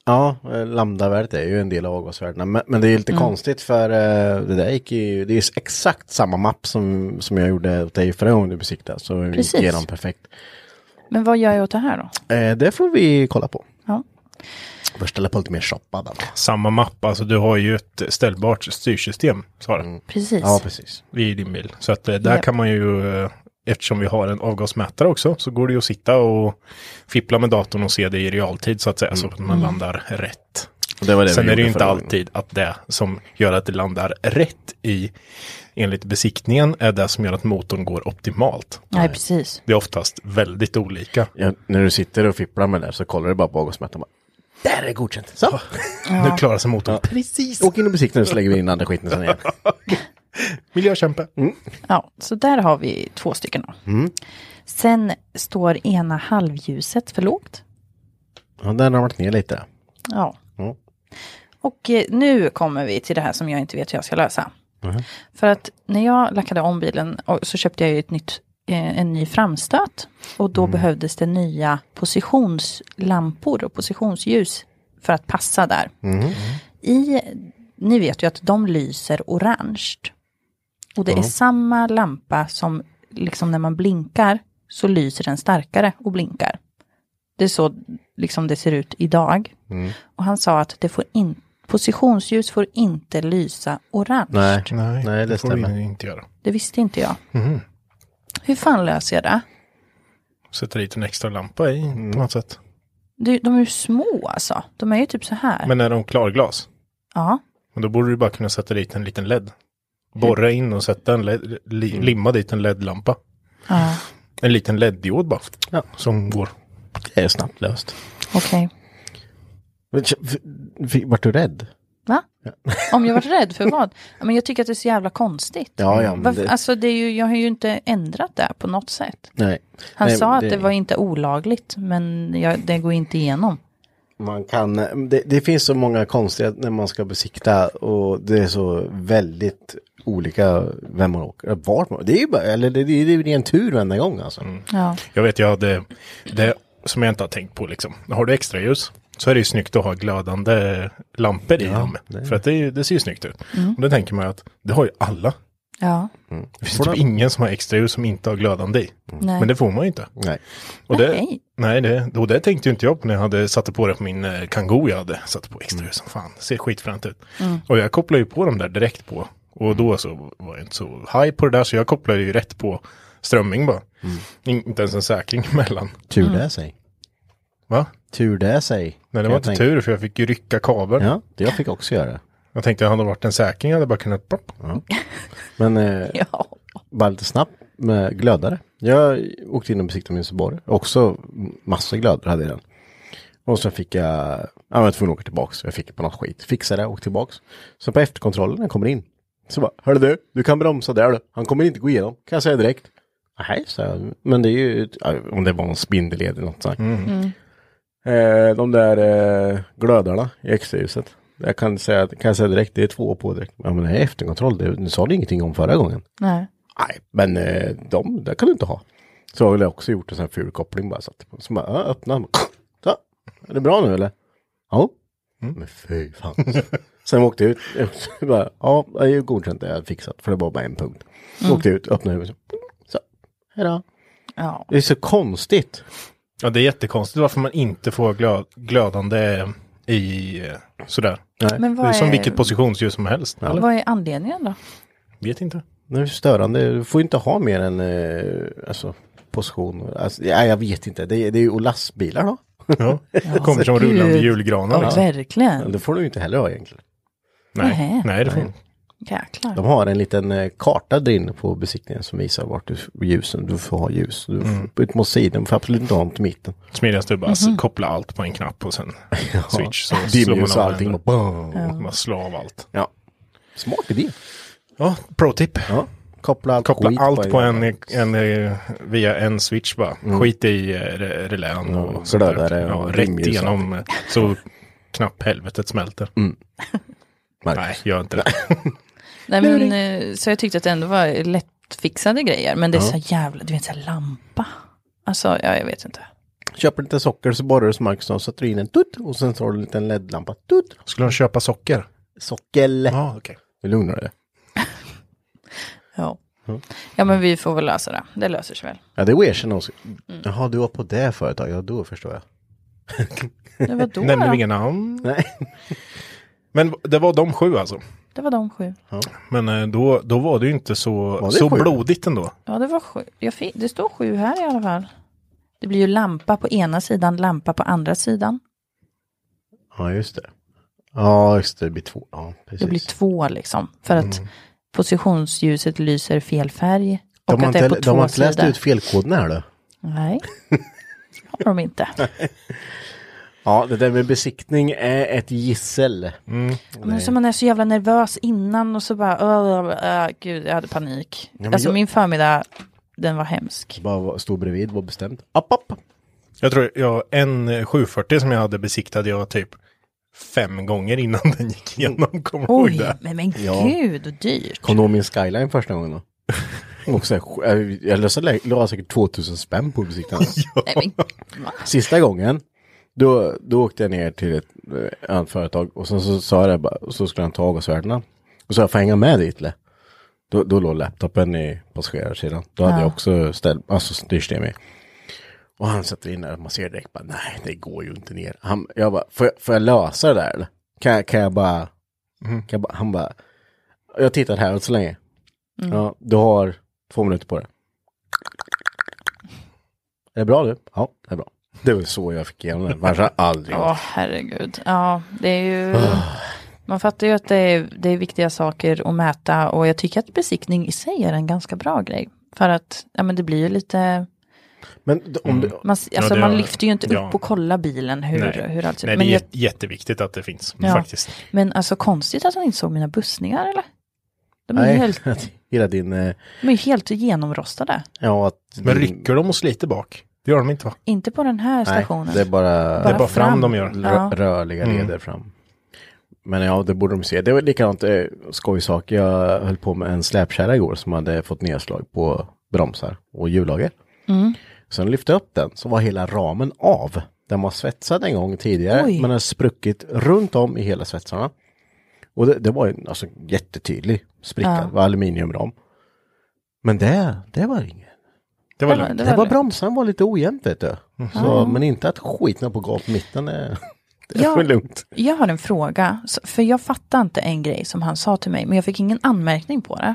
A: Ja, eh, lambdavärdet är ju en del av avgasvärdena. Men, men det är lite konstigt för eh, det där gick ju, det är exakt samma mapp som, som jag gjorde åt dig förra gången du besiktade. Så vi gick
B: Precis.
A: igenom perfekt.
B: Men vad gör jag åt det här då?
A: Eh, det får vi kolla på.
B: Ja.
A: Först ställa på lite mer shoppa där.
D: Samma mapp, alltså du har ju ett ställbart styrsystem, sa du.
A: Mm.
B: Precis.
A: Ja, precis.
D: i din bil. Så att eh, där
B: Ja.
D: kan man ju, eh, eftersom vi har en avgasmätare också, så går det ju att sitta och fippla med datorn och se det i realtid så att säga,
A: Mm.
D: så att man landar rätt.
A: Och det var det
D: Sen
A: vi
D: är det
A: gjorde
D: ju inte
A: förra gången.
D: alltid att det som gör att det landar rätt i, enligt besiktningen, är det som gör att motorn går optimalt.
B: Nej, precis.
D: Det är oftast väldigt olika.
A: Ja, när du sitter och fipplar med det där så kollar du bara på avgasmätaren. och bara, Där är godkänt. Så,
D: Nu klarar sig motorn. Precis!
A: åk in och besikta nu så lägger vi in andra skiten sen igen.
D: Miljökämpe.
A: Mm.
B: Ja, så där har vi två stycken då. Sen står ena halvljuset för lågt.
A: Ja, där har de varit ner lite.
B: Ja.
A: Ja.
B: Och eh, nu kommer vi till det här som jag inte vet hur jag ska lösa. För att när jag lackade om bilen och- så köpte jag ju ett nytt, eh, en ny framstöt. Och då behövdes det nya positionslampor och positionsljus för att passa där. I, ni vet ju att de lyser orange. Och det är samma lampa som liksom när man blinkar så lyser den starkare och blinkar. Det är så liksom det ser ut idag. Och han sa att det får in, positionsljus får inte lysa orange.
A: Nej,
D: Nej,
A: Nej det
D: det får
A: stämmer.
D: vi inte göra.
B: Det visste inte jag. Hur fan löser jag det?
D: Sätta dit en extra lampa i
A: Mm.
D: på något sätt.
B: det? De är ju små alltså. De är ju typ så här.
D: Men är de klarglas?
B: ja.
D: Men då borde du bara kunna sätta dit en liten LED. Borra in och sätta en LED, li,
A: Mm.
D: limma dit en LED-lampa.
B: ja.
D: En liten LED-diod bara.
A: Ja.
D: Som går.
A: Det är snabbt löst.
B: Okej.
A: Men tj- f- f- Vart du rädd?
B: Va? Om jag varit rädd för vad? Ja, Men jag tycker att det är så jävla konstigt.
A: Ja, ja, men
B: Varför-
A: det-
B: Alltså det är ju, jag har ju inte ändrat det på något sätt.
A: Nej.
B: Han
A: Nej,
B: sa att det... var inte olagligt, men jag, det går inte igenom.
A: Man kan, det, det finns så många konstiga när man ska besikta och det är så väldigt olika vem man åker, vart man, det är ju bara, eller det, det är ju ren tur varenda gång alltså.
B: Ja.
D: Jag vet, jag hade det som jag inte har tänkt på liksom. Har du extra ljus så är det ju snyggt att ha glödande lampor i dem. För att det, är ju- det ser ju snyggt ut.
B: Mm.
D: Och då tänker man ju att det har ju alla.
B: Ja.
D: Det finns typ ingen som har extra ljus som inte har glödande i.
B: Nej.
D: Men det får man ju inte.
A: Nej.
D: Och det,
B: Nej.
D: Nej, det, och det tänkte ju inte jag på när jag hade satte på det på min eh, Kangoo jag hade satt på extra ljus som fan. Ser skitfränt ut.
B: Mm.
D: Och jag kopplade ju på dem där direkt på. Och då så var jag inte så high på det där så jag kopplade ju rätt på strömming bara. In, inte ens en säkring emellan.
A: Tur det
B: Mm.
A: är sig.
D: Va?
A: Tur det är sig.
D: Nej, det
A: Kan
D: var
A: jag
D: inte
A: tänka.
D: tur för jag fick ju rycka kabeln.
A: Ja, det jag fick också göra.
D: Jag tänkte hade det varit en säkring hade jag bara kunnat... plopp.
A: Men eh,
B: Ja.
A: bara lite snabbt med glödare. Jag åkte in och besiktade min Subaru. Också massa glödare hade jag i den. Och så fick jag, ja, jag var tvungen att åka tillbaks. Jag fick på något skit. Fixade det och åkte tillbaks. Så på efterkontrollen när jag kommer in. Så bara, hörru du, du kan bromsa där du. Han kommer inte gå igenom, kan jag säga direkt. Nej, sa jag. Men det är ju, ja, om det var någon spindelled eller något sånt. Eh, de där eh, glödarna i extraljuset. Jag kan säga, kan jag säga direkt, det är två på direkt. Ja men det är efterkontroll, det, du sa du ingenting om förra gången.
B: Nej.
A: Nej, men eh, de, det kan du inte ha. Så har jag också gjort en sån här ful koppling bara. Satt på. Så bara, ja, öppna. Så, är det bra nu eller? Ja.
B: Mm.
A: Men fy fan. Sen åkte jag ut. Jag bara, ja, det är ju godkänt det jag har fixat. För det var bara en punkt. Så
B: Mm.
A: åkte jag ut, öppnade huvudet. Så, hejdå.
B: Ja.
A: Det är så konstigt.
D: Ja, det är jättekonstigt varför man inte får glö, glödande i eh, sådär.
B: Men
D: det är
B: vad
D: som
B: är,
D: vilket positionsljus som helst. Eller?
B: vad är anledningen då?
D: Vet inte.
A: Det är störande. Du får inte ha mer än eh, alltså, position. Alltså, ja, jag vet inte. Det, är- det är ju och lastbilar då.
D: Ja. Det kommer som rullande
B: alltså, Gud.
D: julgranar.
B: Ja,
D: Liksom.
B: verkligen.
A: Det får du ju inte heller ha egentligen.
D: Nej,
B: Nähä.
D: nej det får man
B: Jäklar.
A: De har en liten eh, karta där inne på besiktningen som visar vart du, ljusen, du får ha ljus. Du får, Ut mot sidan, du får absolut inte ha dem till mitten.
D: Smidigast är
B: Mhm.
D: bara att koppla allt på en knapp och sen switch. Så slår man
A: Dimljus och
D: av
A: allting.
D: den.
A: bara, boom.
D: Man slår av allt.
A: Ja. Smart idé.
D: Ja, pro tip.
A: Ja. Koppla allt,
D: Koppla
A: skit
D: allt på en, en, eh, via en switch bara. Skit i eh, re- relän och
A: Mm. Ja,
D: sånt där.
A: glödare
D: Ja,
A: och
D: rätt
A: dimljus och
D: igenom eh, så knapp helvetet smälter.
A: Marcus.
D: Nej, gör inte det.
B: Nej, men, eh, så jag tyckte att det ändå var lättfixade grejer. Men det är så jävla, du vet så här lampa. Alltså, ja, jag vet inte.
A: Köper lite socker så borrar du som Marcus sa, sätter in en tutt och sen så har du en liten LED-lampa. Tutt!
D: Skulle de köpa socker?
A: Sockel!
D: Ja, okej.
A: Det lugnar det.
B: Ja. ja, men vi får väl lösa det. Det löser sig väl.
A: Ja, det är erkänna också. Jaha, du var på det företaget. Ja, då förstår jag.
B: Det var då.
D: Nämner
B: då.
D: inga namn.
A: Nej.
D: Men det var de sju alltså.
B: Det var de sju.
D: Men eh, då, då var det ju inte så,
A: det
D: så
A: sju?
D: blodigt ändå.
B: Ja, det var sju. Jag fick, det står sju här i alla fall. Det blir ju lampa på ena sidan, lampa på andra sidan.
A: Ja, just det. Ja, just det. Det blir två. Ja, precis. Mm.
B: Det blir två liksom. För att positionsljuset lyser fel färg. Och
A: de har
B: att det är
A: inte,
B: på
A: de har
B: två
A: inte läst
B: sidor.
A: ut felkoden här då?
B: Nej. Det har de inte.
A: Ja, det där med besiktning är ett gissel.
B: Men så man är så jävla nervös innan och så bara, "Åh, åh, åh, gud, jag hade panik.
A: men
B: alltså
A: jag-
B: min förmiddag, den var hemsk.
A: Bara stå bredvid, var bestämd. App, app.
D: Jag tror jag, en eh, 740 som jag hade besiktade jag typ fem gånger innan den gick igenom. Kommer du ihåg
B: Oj,
D: det?
B: men, men gud, och dyrt.
A: Kom då min skyline första gången då? Och så, här, jag- jag lösade- la säkert 2000 spänn på besiktningen.
B: Nej, men,
A: Sista gången, då, då åkte jag ner till ett eh, annat företag och sen så sa jag det bara, och så skulle han ta avgasvärdena. Och så jag får jag hänga med dit eller? Då, då låg laptopen i passagerarsidan. Då hade jag också ställ, alltså styrsystem i. Och han sätter in där och man ser direkt bara, nej det går ju inte ner. Han, jag bara, får, jag- får jag lösa det där eller? Kan, jag- kan jag bara,
B: Mm.
A: kan jag bara, han bara, jag tittar här så länge.
B: Mm.
A: Ja, du har två minuter på det. Är det bra du? Ja, det är bra. Det var så jag fick igenom det. Värsta aldrig.
B: åh herregud. Ja, det är ju...
D: Ah.
B: Man fattar ju att det är, det är viktiga saker att mäta och jag tycker att besiktning i sig är en ganska bra grej. För att, ja men det blir ju lite...
A: Men d- om du,
B: Man, s- alltså,
D: det-
B: man lyfter ju inte upp
D: ja.
B: och kollar bilen hur, hur allt ser ut.
D: Nej, det är
B: Men, jag,
D: jät- jätteviktigt att det finns
B: Ja.
D: faktiskt.
B: men alltså konstigt att de inte såg mina bussningar eller? De är,
A: nej,
B: ju helt,
A: hela din, eh,
B: de är ju helt genomrostade.
A: ja att...
D: Men
A: din-
D: rycker de och sliter bak? Det gör de inte va?
B: Inte på den här
A: Nej,
B: stationen.
A: det är bara...
D: Det är bara fram de gör. Mm.
A: rö-
B: Ja.
A: rörliga leder fram. Men ja, det borde de se. Det var likadant eh, skojsak. Jag höll på med en släpkärra igår som hade fått nedslag på bromsar och hjullager.
B: Mm.
A: Sen lyfte jag upp den så var hela ramen av. Den var svetsad en gång tidigare
B: Oj.
A: men den har spruckit runt om i hela svetsarna. Och det, det var ju alltså jättetydlig spricka. Det var aluminiumram. Men det, det var inget.
D: Det var
B: Det var-
D: lugnt.
A: Det,
B: väl-
A: var bromsarna var lite ojämnt vet du. Så, men inte att skiten på gapmitten är... Det
B: Ja.
A: var lugnt.
B: Jag har en fråga, så- för jag fattar inte en grej som han sa till mig, men jag fick ingen anmärkning på det.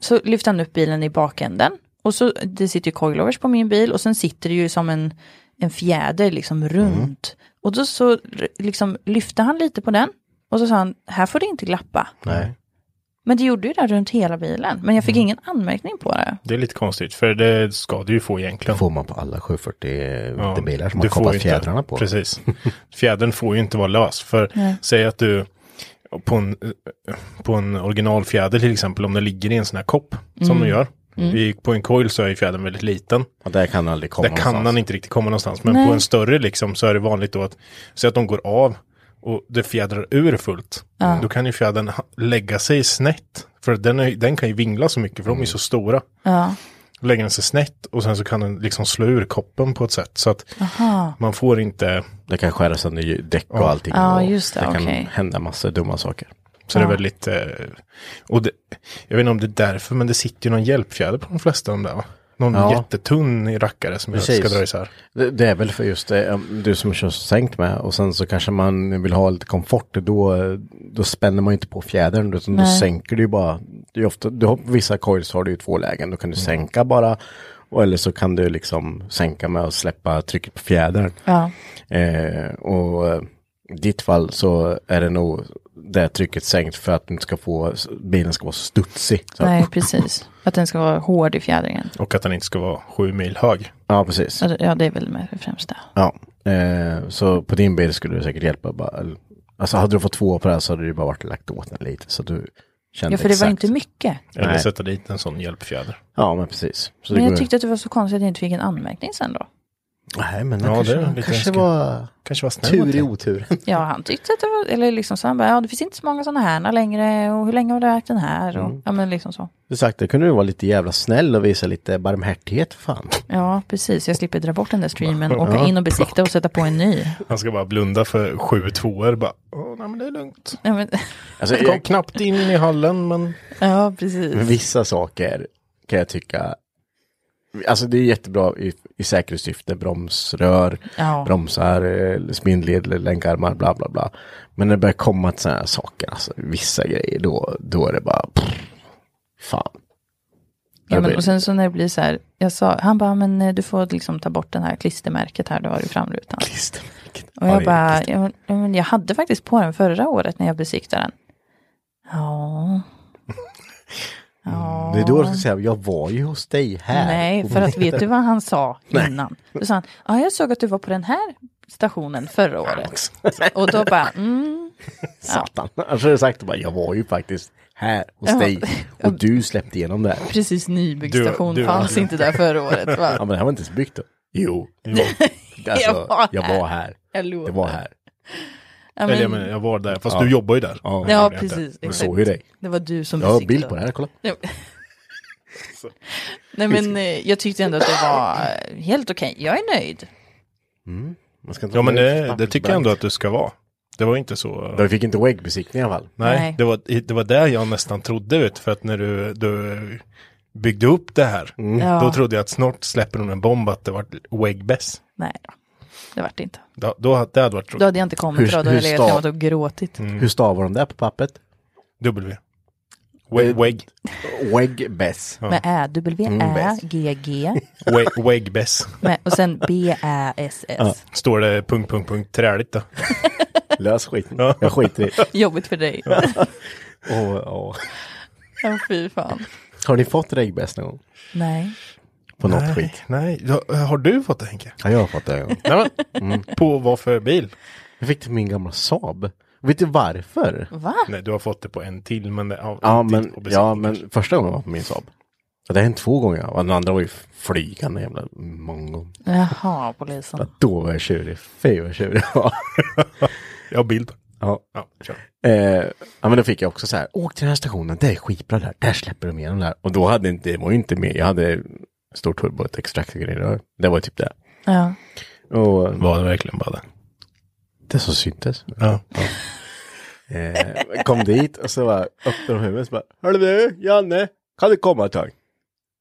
B: Så lyfte han upp bilen i bakänden och så, det sitter ju coilovers på min bil och sen sitter det ju som en, en fjäder
A: Mm.
B: liksom runt. Och då så r- liksom lyfte han lite på den och så sa han, här får det inte glappa.
A: Nej.
B: Men det gjorde ju det runt hela bilen, men
A: Mm.
B: jag fick ingen anmärkning på det.
D: Det är lite konstigt, för det ska du ju få
A: Det
D: egentligen.
A: får man på alla 740
D: Ja,
A: bilar som
D: du
A: har
D: får ju
A: kapat
D: inte-
A: fjädrarna på.
D: Precis. Fjädern får ju inte vara lös. För säg att du på en, på en originalfjäder till exempel, om den ligger i en sån här kopp som de gör. I, på en coil så är ju fjädern väldigt liten.
A: Och där kan aldrig komma
D: Där kan han inte riktigt komma någonstans. Men
B: Nej.
D: på en större liksom så är det vanligt då att, säg att de går av och det fjädrar ur fullt. Då kan ju fjädern ha- lägga sig snett. För den, är, den kan ju vingla så mycket för
A: Mm.
D: de är så stora.
B: Ja,
D: Lägger den sig snett och sen så kan den liksom slå ur koppen på ett sätt. Så att man får inte,
A: Det kan skära sönder ju- däck och allting.
B: Ja,
A: och
B: just det,
A: kan
B: okej.
A: hända massor dumma saker.
D: så det är väldigt, eh, och det, jag vet inte om det är därför men det sitter ju någon hjälpfjäder på de flesta av de där va? Någon
A: Ja.
D: jättetunn rackare som Precis. ska
A: Precis.
D: dra isär.
A: Det, det är väl för just det, um, du som kör sänkt med och sen så kanske man vill ha lite komfort. Då, eh, då spänner man ju inte på fjädern utan då sänker du ju bara. Det är ofta, du har, på vissa coils har du ju två lägen. Då kan du sänka bara. Och, eller så kan du liksom sänka med att släppa trycket på fjädern.
B: ja,
A: Eh, och eh, i ditt fall så är det nog det trycket sänkt för att du inte ska få, bilen ska vara så studsig. Så,
B: nej precis. Att den ska vara hård i fjädringen.
D: Och att den inte ska vara sju mil hög.
A: Ja, precis.
B: Ja, det är väl med det främsta.
A: Ja. Eh, så på din bil skulle det säkert hjälpa. Bara, alltså hade du fått två på det här så hade du bara varit lagt åt den lite. Så att du kände
B: Ja, för det var
A: exakt.
B: inte mycket.
D: Eller
A: Nej.
D: sätta dit en sån hjälpfjäder.
A: Ja, men precis. Så
B: Men
A: det
B: jag
A: går-
B: tyckte att det var så konstigt att jag inte fick en anmärkning sen då.
A: Nej, men det
D: Ja,
A: kanske,
D: det är lite
A: kanske
D: önskat.
A: var
D: Kanske var snäll mot
A: tur
D: dig.
A: i oturen.
B: Ja, han tyckte att det var, eller liksom så han bara, ja det finns inte så många sådana här längre och hur länge har du ägt den här?
A: Mm.
B: Och, Ja men liksom så.
A: Du sagt, det kunde du vara lite jävla snäll och visa lite barmhärtighet för fan.
B: Ja precis, jag slipper dra bort den där streamen, åka in och besikta och sätta på en ny.
D: Han ska bara blunda för sju tvåor. Bara, Åh, nej men det är lugnt.
B: Ja, men,
A: Alltså,
D: Jag kom knappt in i hallen men
B: ja precis.
A: Men vissa saker kan jag tycka, alltså det är jättebra i, i säkerhetssyfte, bromsrör,
B: Ja.
A: bromsar, eh, spindelled, länkarmar, bla bla bla. Men när det börjar komma till sådana här saker, alltså vissa grejer, då, då är det bara, pff, fan.
B: Ja,
A: Det
B: men,
A: blir-
B: och sen så när det blir så här, jag sa, han bara, men eh, du får liksom ta bort den här klistermärket här du har i framrutan.
A: Klistermärket.
B: Och
A: Ja,
B: jag
A: det-
B: bara, ja, men- ja, men jag hade faktiskt på den förra året när jag besiktade den. Ja,
A: Mm. Det är då du ska säga, jag var ju hos dig här.
B: Nej,
A: Och
B: för att vet du vad han sa
A: Nej.
B: innan? Då sa han, ja jag såg att du var på den här stationen förra året. Och då bara, mm,
A: Satan. Annars hade du sagt, bara, jag var ju faktiskt här hos
B: Ja.
A: dig. Och du släppte igenom det här.
B: precis
D: Du-
B: nybyggstation
D: du-
B: fanns inte där förra året.
A: Ja,
B: Va?
A: men det här var inte ens byggt då. Jo.
B: Jag
A: Alltså,
B: var
A: jag var här.
B: Jag
A: Det
B: lovar.
A: var här.
B: Ja,
D: Eller jag,
B: men,
D: menar, jag var där, fast du jobbar ju där.
A: Ja.
B: ja
D: det
B: precis.
A: Jag
B: exakt.
A: såg ju dig.
B: Det var du som
A: Jag har
B: besiktade.
A: bild på det här, kolla.
B: Nej, men- Nej men eh, jag tyckte ändå att det var eh, helt okej. Jag är nöjd.
A: Man ska inte
D: Ja men
A: ta
D: det, det tycker jag ändå att du ska vara. Det var inte så.
A: Vi fick inte väggbesiktning i alla fall.
D: nej,
B: Nej.
D: Det, var, det var där jag nästan trodde ut. För att när du, du byggde upp det här.
A: Mm.
D: Då trodde jag att snart släpper hon en bomb att det var Wegbess.
B: Nej då, det vart det inte.
D: Då, då, det hade varit
B: Då
D: tråkigt.
B: hade jag inte kommit
A: Hur-
B: då, då
A: hur
B: hade jag legat
A: stav-
B: framåt och gråtit.
D: Mm,
A: Hur stavar de det på pappret?
D: W. Weg, weg,
A: Wegbess.
B: Med ä, w,
A: Mm,
B: ä, g, g.
D: weg, Wegbess.
B: Med, och sen b, ä, s, s.
D: Står det punkt, punkt, punkt, träligt då.
A: Lös skiten. Jag skiter i det.
B: Jobbigt för dig.
A: Åh, åh.
B: Ja, fy fan.
A: Har ni fått regbäst någon gång?
B: Nej.
A: på något
D: nej,
A: skit.
D: Nej, Ja, har du fått det Henke?
A: Ja, jag har fått det en gång.
D: Nej, men, På vad för bil?
A: Jag fick det på min gamla Saab. Vet du varför?
B: Va?
D: Nej, du har fått det på en till, men det, ja,
A: Ja
D: en till
A: men,
D: på besiktning
A: ja,
D: kanske.
A: men första gången var på min Saab. Ja, Det har hänt två gånger. Och Den andra var ju flygande jävla mongo.
B: Jaha, polisen.
A: Ja, då var jag tjurig. Fy vad tjurig jag var.
D: Jag har bild.
A: ja.
D: Ja, kör.
A: Eh, ja men då fick jag också så här, åk till den här stationen, det är skitbra där, där släpper de igenom där. Och då hade inte, det var ju inte med, jag hade stor turbo, ett extrakt och grejer. Det var typ det.
B: Ja.
A: Och
D: Var det verkligen bara det?
A: det som syntes.
D: Ja.
A: Eh, kom dit och så bara öppnade de huvudet och så bara, hörru du, Janne, kan du komma ett tag?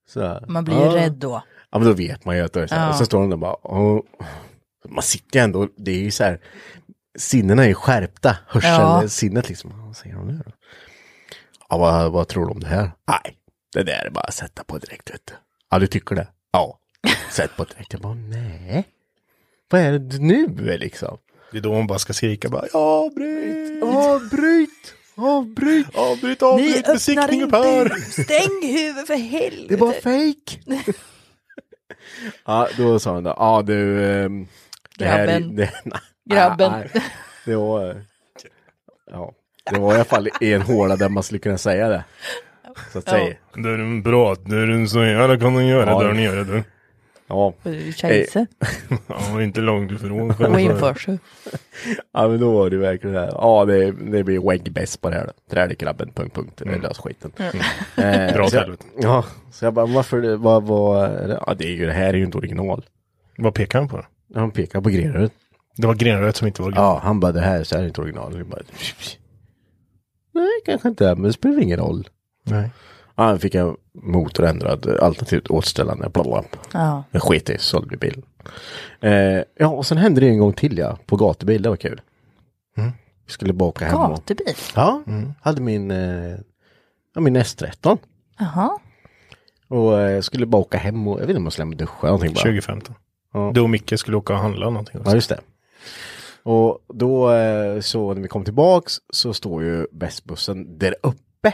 A: Så, här,
B: Man blir ju
A: "Ja."
B: rädd då.
A: Ja men då vet man ju att det är så här.
B: Ja.
A: Och så står de där och bara, "Åh." man sitter ju ändå, det är ju så här, sinnena är ju skärpta, hörseln,
B: Ja.
A: sinnet liksom. Vad säger de nu då? Ja vad, vad tror du om det här? Nej, det där är bara att sätta på direkt vet du. Ja du tycker det? Ja, sätt på direkt. Jag bara, nej. Vad är det nu liksom?
D: Det är då man bara ska skrika bara avbryt,
A: Avbryt! Avbryt!
D: avbryt, avbryt besiktningen Per!
B: Stäng huvudet för helvete!
A: Det var fake! Typ. ja, då sa han då, ja du... ehm, Det här, är-
B: Grabben.
A: Det, nej,
B: Grabben.
A: nej, nej. det var... eh, Ja, det var i alla fall i en håla där man skulle kunna säga det. Så att säga.
D: Det är en bra, det är en så jävla kan den göra
A: Ja.
D: där nere du.
A: Ja.
B: Kejse
D: Ja, inte långt ifrån.
B: och införsel.
A: ja, men då var det verkligen det här. Ja, det, det blir skäggbäst på det här då. Trädegrabben, punkt, punkt. Mm. Lös skiten. Eh,
D: Dra åt
A: så jag,
D: helvete.
A: ja, så jag bara, varför, det- vad, vad, är det? ja det är ju, det här är ju inte original.
D: Vad pekar han på då?
A: Han pekar på grenröret.
D: Det var grenröret som inte var grön.
A: Ja, han bara det här så här är inte original. Jag bara, Nej, kanske inte, men det spelar ingen roll.
D: Nej.
A: Ja, han fick en motor ändrad, alternativt återställande, bla bla.
B: Ja.
A: Jag sket i, sålde bilen. Eh, ja, och sen hände det en gång till ja, på gatubil, det var kul. Vi skulle bara åka hem och...
B: Gatubil?
A: Ja, hade min, eh, ja, min S13.
B: Jaha.
A: Och eh, skulle bara åka hem och, jag vet inte om jag skulle hem och duscha eller någonting bara.
D: 2015.
A: Ja.
D: Du och Micke skulle åka och handla någonting.
A: Ja, just det. Och då eh, så när vi kom tillbaks så står ju bästbussen där uppe.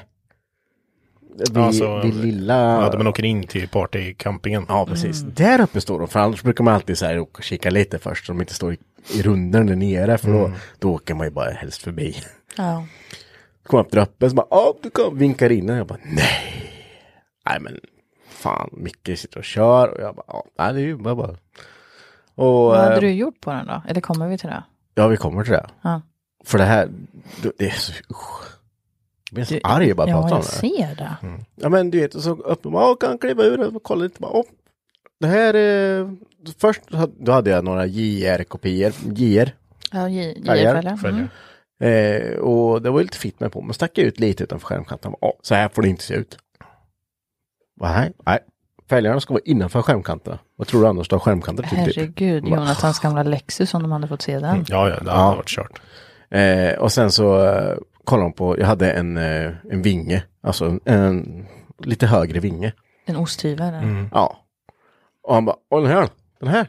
A: Vid,
D: Ja, så-
A: vid lilla...
D: Ja, där man åker in till partycampingen.
A: Ja, precis.
B: Mm.
A: Där uppe står de, för annars brukar man alltid så här åka och kika lite först, så de inte står i, i runden där nere, för då,
D: Mm.
A: då åker man ju bara helst förbi.
B: Ja.
A: Kom upp där uppe, så bara, ja, du kan, vinkar in den. jag bara, nej. Nej, men fan, Micke sitter och kör, och jag bara, ja, nej, det är ju bara... bara. Och,
B: Vad
A: eh,
B: hade du gjort på den då? Eller kommer vi till det?
A: Ja, vi kommer till det.
B: Ja.
A: För det här, det är så, usch. Jag blir så
B: Du-
A: arg bara
B: Ja,
A: prata om
B: jag
A: det. Mm.
B: ser det.
A: Ja, men du vet, och så öppnar man, "Åh, kan jag kliva ur det och kolla lite. Bara, "Åh, det här är, först ha- då hade jag några JR-kopior, JR.
B: Ja, J-
A: Fälgar.
B: JFL. Mm.
A: Eh, och det var ju lite fint med på, men stack jag ut lite utanför skärmkanten. Bara, "Åh, så här får det inte se ut. Bara, Nej, nej. Fälgarna ska vara innanför skärmkanterna. Vad tror du annars du har skärmkanter till? Typ?
B: Herregud, Jonathans gamla Lexus om de hade fått se
A: Mm.
B: den.
D: Mm. Ja, ja, det hade
A: Ja.
D: varit kört.
A: Eh, och sen så eh, kollade de på, jag hade en, eh, en vinge, alltså en, en lite högre vinge.
B: En osthyvel. eller?
D: Mm.
A: Ja. Och han bara, "Åh, den här, den här,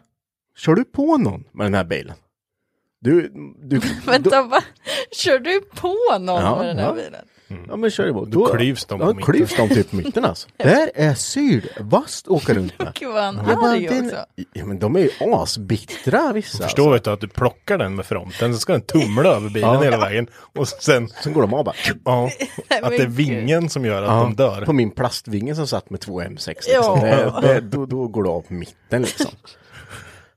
A: kör du på någon med den här bilen? Du, du,
B: Vänta, va? Kör du på någon
A: Ja,
B: med den här
A: ja.
B: bilen?
A: ja men kör du på. Då
D: klyvs de på
A: ja,
D: mitten.
A: klyvs de typ på mitten alltså. Där är sylvasst åker runt med.
B: Gud vad han
A: Jag bara,
B: arg
A: "Den-
B: också.
A: ja, men de är ju asbittra vissa. alltså."
D: Förstår vet du att du plockar den med fronten, så ska den tumla över bilen
A: Ja.
D: hela vägen. Och sen,
A: Alltså. Sen går de av bara.
D: ja, att det är
B: men
D: vingen som gör att de dör.
A: På min plastvinge som satt med två M6. Liksom.
B: Ja.
A: Det, det, då, då går det av på mitten liksom.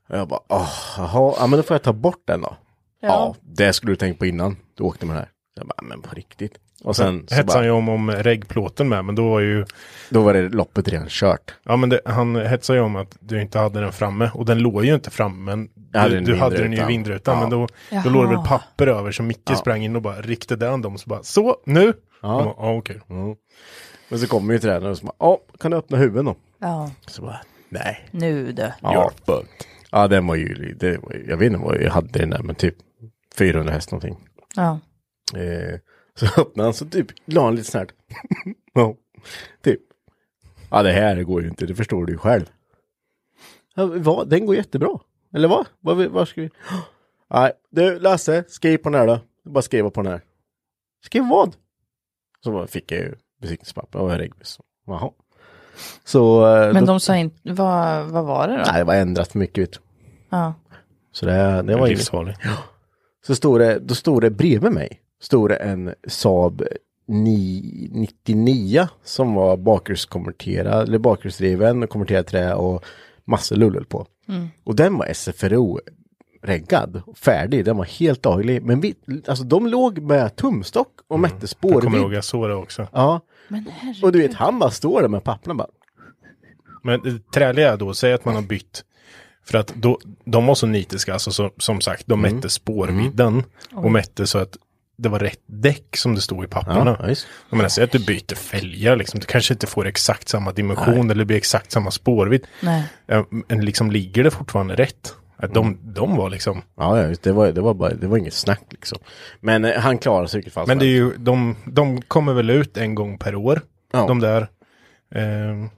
A: Och jag bara, åh, jaha, ja men då får jag ta bort den då. Ja. det skulle du tänkt på innan du åkte med den här. Jag bara, men på riktigt. Och sen så
D: Hetsade han
A: bara,
D: ju om, om reggplåten med, men då var ju,
A: då var det loppet redan kört.
D: ja men det, han hetsade ju om att du inte hade den framme, och den låg ju inte framme, men
A: hade
D: du hade,
A: en
D: du hade den ju i
A: vindrutan.
D: vindrutan,
A: Ja.
D: men då, då
B: Jaha.
D: låg det väl papper över, så Micke sprang in och bara riktade an dem, så bara, så, nu! Ja, bara, ja okej.
A: Men så kommer ju tränaren och så bara, ja, kan du öppna huven då?
B: Ja,
A: Så bara, nej.
B: nu du.
A: Ja, ja den var ju, det var, ju- jag vet inte vad jag hade den där, men typ 400 häst någonting.
B: Ja.
A: Eh, så öppnade han så typ la han lite snärt. ja, typ. Ja det här går ju inte, det förstår du ju själv. Ja, va? Den går jättebra. Eller vad? Vad vi- vad ska vi? Nej, du Lasse, skriv på den här då. Du bara skriva på den här. Skriv vad? Så bara fick jag ju besiktningspapper och en regbus. Jaha. Så, eh,
B: Men
A: då,
B: de sa inte, vad, vad var det då?
A: nej, det var ändrat mycket ut.
B: Ja.
A: Så det, det var inget.
D: Livsfarlig.
A: Så stod det, då stod det bredvid mig, stod det en Saab 9 99 som var bakhjulskonverterad, eller bakhjulsdriven och konverterad trä och massor lullul på. Och den var SFRO-reggad, färdig, den var helt daglig. Men vi, alltså de låg med tumstock och mätte
D: Mm. Jag kommer
A: spårvidd.
D: ihåg, jag såg det också.
A: Ja,
B: Men herregud.
A: och du vet han bara står där med papperna bara.
D: Men det träliga är då, säg att man har bytt. För att då, de var så nitiska, alltså så, som sagt, de mätte spårvidden. Och mätte så att det var rätt däck som det stod i papperna.
A: Ja, visst.
D: jag menar, säg att du byter fälgar, liksom, du kanske inte får exakt samma dimension eller det blir exakt samma spårvidd.
B: Nej.
D: Ja, Men liksom ligger det fortfarande rätt? Att
A: Mm.
D: de, de var liksom...
A: Ja, ja, visst, det var, det var, bara, det var inget snack liksom. Men eh, han klarade sig i vilket fall.
D: Men
A: som
D: det är
A: helst.
D: ju, de, de kommer väl ut en gång per år,
A: Ja.
D: de där eh,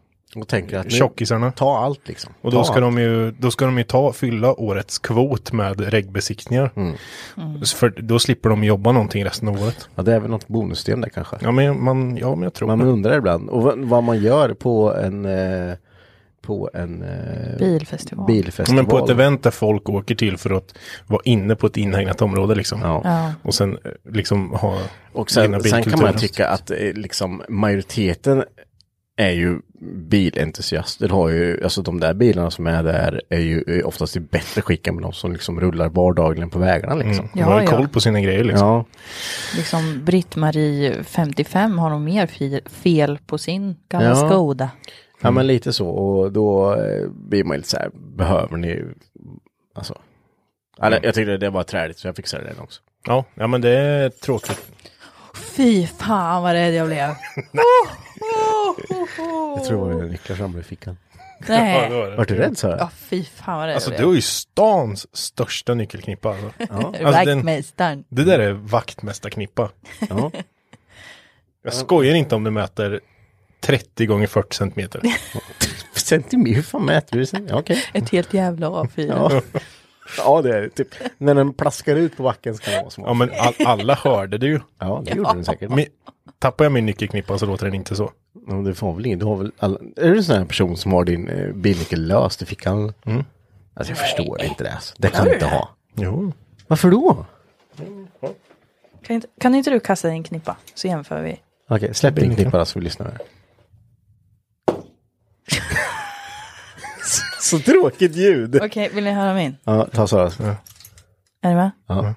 A: och tänker att nu,
D: tjockisarna.
A: ta allt liksom.
D: Och då
A: Ta
D: ska,
A: allt.
D: de ju, då ska de ju ta, fylla årets kvot med regbesiktningar.
A: Mm.
B: Mm.
D: Så För då slipper de jobba någonting resten av året.
A: Ja, det är väl något bonussystem där kanske.
D: Ja men, man, ja, men jag tror
A: Man
D: det.
A: undrar ibland. Och vad- vad man gör på en, eh, på en eh,
B: Bilfestival.
D: Ja,
A: bilfestival.
D: Men på ett event där folk åker till för att vara inne på ett inhägnat område liksom.
A: Ja.
B: Ja.
D: Och sen eh, liksom ha...
A: Och
D: gynna
A: sen, sen kan man
D: bilkulturen.
A: tycka att eh, liksom, majoriteten är ju bilentusiaster. Har ju, alltså de där bilarna som är där är ju är oftast i bättre skick än de som liksom rullar vardagligen på vägarna. Liksom.
D: De har
B: Ja,
D: ju
B: ja.
D: koll på sina grejer Mm. liksom.
A: Ja,
B: Liksom Britt-Marie 55 har nog mer fi- fel på sin gamla
A: Ja.
B: Skoda.
A: ja
D: Mm.
A: men lite så. Och då eh, blir man ju lite så här, behöver ni alltså. Eller,
D: Mm.
A: jag tyckte det var träligt så jag fixade den också.
D: Ja, ja men det är tråkigt.
B: Fy fan vad rädd jag blev. Oh,
A: Jag tror det var nycklar fram i fickan.
D: Ja, det
B: Nej.
D: var det.
A: Vart du rädd sa jag?
B: Ja, fy fan vad rädd
D: Alltså
B: jag
D: du
B: blev.
D: har ju stans största nyckelknippa alltså. alltså, den-
B: Vaktmästaren.
D: Det där är vaktmästarknippa.
A: Ja.
D: Jag skojar inte om du mäter 30 gånger 40 centimeter.
A: Centimeter, hur fan mäter du sen? Ja, okej.
B: Ett helt jävla A4.
A: Ja. ja, det är det, typ. När den plaskar ut på backen ska den vara
D: Ja
A: små.
D: men all, alla hörde det ju.
A: Ja, det gjorde den säkert.
D: Men, tappar jag min nyckelknippa så låter den inte så.
A: Ja, Men, du får väl ingen, du har väl alla... Är du en sån här person som har din eh, bilnyckel löst i fickan? Mm. Alltså jag förstår inte det. Alltså. Det kan du inte ha.
D: Jo.
A: Varför då?
B: Kan, inte, kan inte du kasta din knippa så jämför vi?
A: Okej, släpp in knipparna så vi lyssnar. här. så tråkigt ljud.
B: Okej, vill ni höra min?
A: Ja, ta Saras.
B: Är ni med?
A: Ja.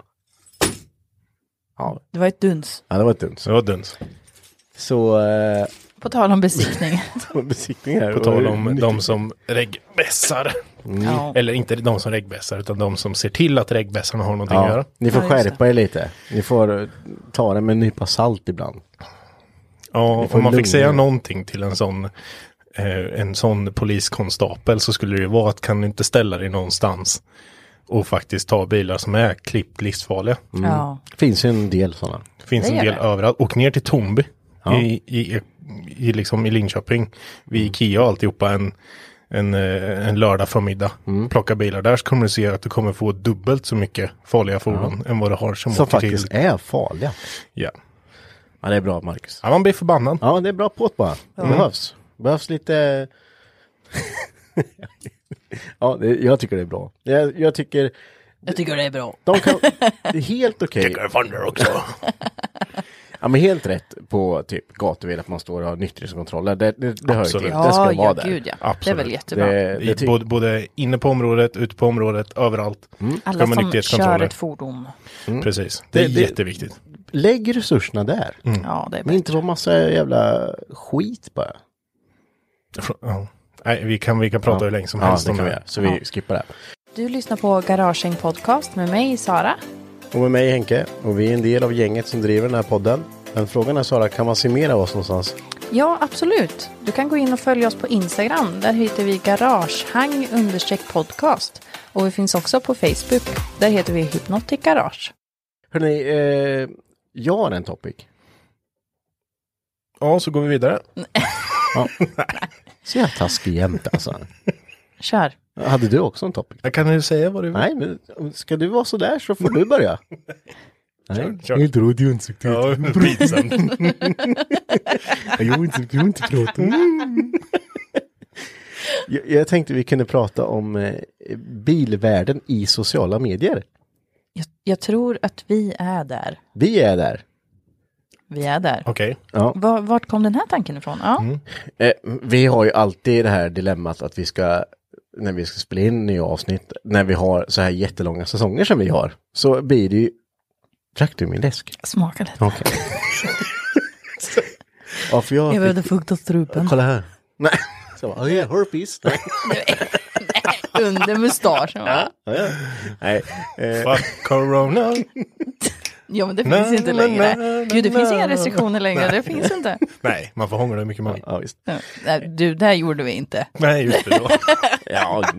A: Ja.
B: Det var ett duns.
A: ja, det var ett dumt.
D: Det var duns.
A: Så, eh,
B: På tal om besiktning.
A: besiktning här.
D: På tal om de som regbässar.
A: Mm.
B: ja.
D: Eller inte de som regbässar utan de som ser till att regbässarna har någonting att göra.
A: Ni får
B: Ja, just
A: skärpa er lite. Ni får eh, ta det med en nypa salt ibland.
D: Ja,
A: får
D: om man fick
A: lugna
D: säga
A: er.
D: någonting till en sån, eh, en sån poliskonstapel så skulle det ju vara att kan du inte ställa dig någonstans och faktiskt ta bilar som är klippt livsfarliga.
A: Mm.
B: ja.
A: Finns ju en del sådana.
D: Det finns
B: Det
D: en
B: gör
D: del
B: det.
D: överallt. Och ner till Tomby
A: Ja. Mm.
D: i, i, i, liksom i Linköping. Vid Ikea och alltihopa en, en, eh, en lördag förmiddag.
A: Mm.
D: Plocka bilar där så kommer du se att du kommer få dubbelt så mycket farliga fordon än vad du har som,
A: Som
D: åker
A: faktiskt
D: till.
A: är farliga.
D: Ja.
A: Ja, det är bra Marcus.
D: ja, man blir förbannad.
A: Ja, det är bra påt bara. Det behövs. Behövs lite... ja, det, jag tycker det är bra. Jag, jag tycker...
B: Jag tycker det är bra.
A: De kan... det är helt okej.
D: Tycker jag fan det också.
A: Ja, men helt rätt på typ gatubil att man står och har nykterhetskontroller. Det, det, det hör ju till.
D: Absolut.
A: Det ska vara där.
B: gud ja. Det är
D: Absolut.
B: väl jättebra.
A: Det, Eh, det typ-
D: I,
A: ty-
D: både, både inne på området, ute på området, överallt.
B: Alla
D: man
B: som
D: nykterhetskontroller.
B: kör ett fordon.
D: Precis, det är
A: Mm, Det- det-
D: jätteviktigt.
A: Lägg resurserna där.
D: Mm.
B: Ja, det är bra.
A: Men inte på massa jävla skit bara.
D: Ja. Nej, vi kan, vi kan prata hur länge som
A: ja,
D: helst
A: det
D: om
A: kan vi
D: det.
A: göra. Så vi skippar det.
B: Du lyssnar på Garaging Podcast med mig, Sara.
A: Och med mig Henke. Och vi är en del av gänget som driver den här podden. Men frågan är Sara, kan man se mer av oss någonstans?
B: Ja, absolut. Du kan gå in och följa oss på Instagram. Där heter vi garagehang understreck podcast. Och vi finns också på Facebook. Där heter vi Hypnotic Garage.
A: Hörrni, eh, jag har en topic.
D: Ja, så går vi vidare.
A: Mm. Ja. Så jag taskig jämt alltså.
B: Kör.
A: Hade du också en topic?
D: Jag kan ju säga vad du vill.
A: Nej, men ska du vara sådär så får du börja. Nej,
D: kör.
A: jag drar åt ansiktet.
D: Ja, pinsamt. Mm.
A: Jag vill inte, jag vill inte prata. Jag, jag tänkte vi kunde prata om eh, bilvärlden i sociala medier.
B: Jag, jag tror att vi är där.
A: Vi är där.
B: Vi är där.
D: Okej.
A: Ja.
B: Var, vart kom den här tanken ifrån? Ja.
A: Eh, vi har ju alltid det här dilemmat att vi ska, när vi ska spela in nya avsnitt, när vi har så här jättelånga säsonger som vi har, så blir det ju... Drack du min läsk?
B: Smaka lite.
A: Okej. ja, för jag...
B: Jag behövde
A: fick-
B: fukta strupen.
A: Kolla här. Nej. Så, bara, oh yeah, herpes. Nej.
B: Under mustaschen va?
A: Ja, ja. Nej. Eh,
D: Fuck corona.
B: Ja men det
D: Na,
B: finns inte
D: na,
B: längre.
D: na, na,
B: Gud det finns
D: na,
B: inga
D: na.
B: restriktioner längre. Det finns inte.
D: Nej, man får hångla hur mycket man vill.
A: ja, visst.
B: Ja. Nej, Du, det här gjorde vi inte.
D: Nej, just det. Då.
A: Ja,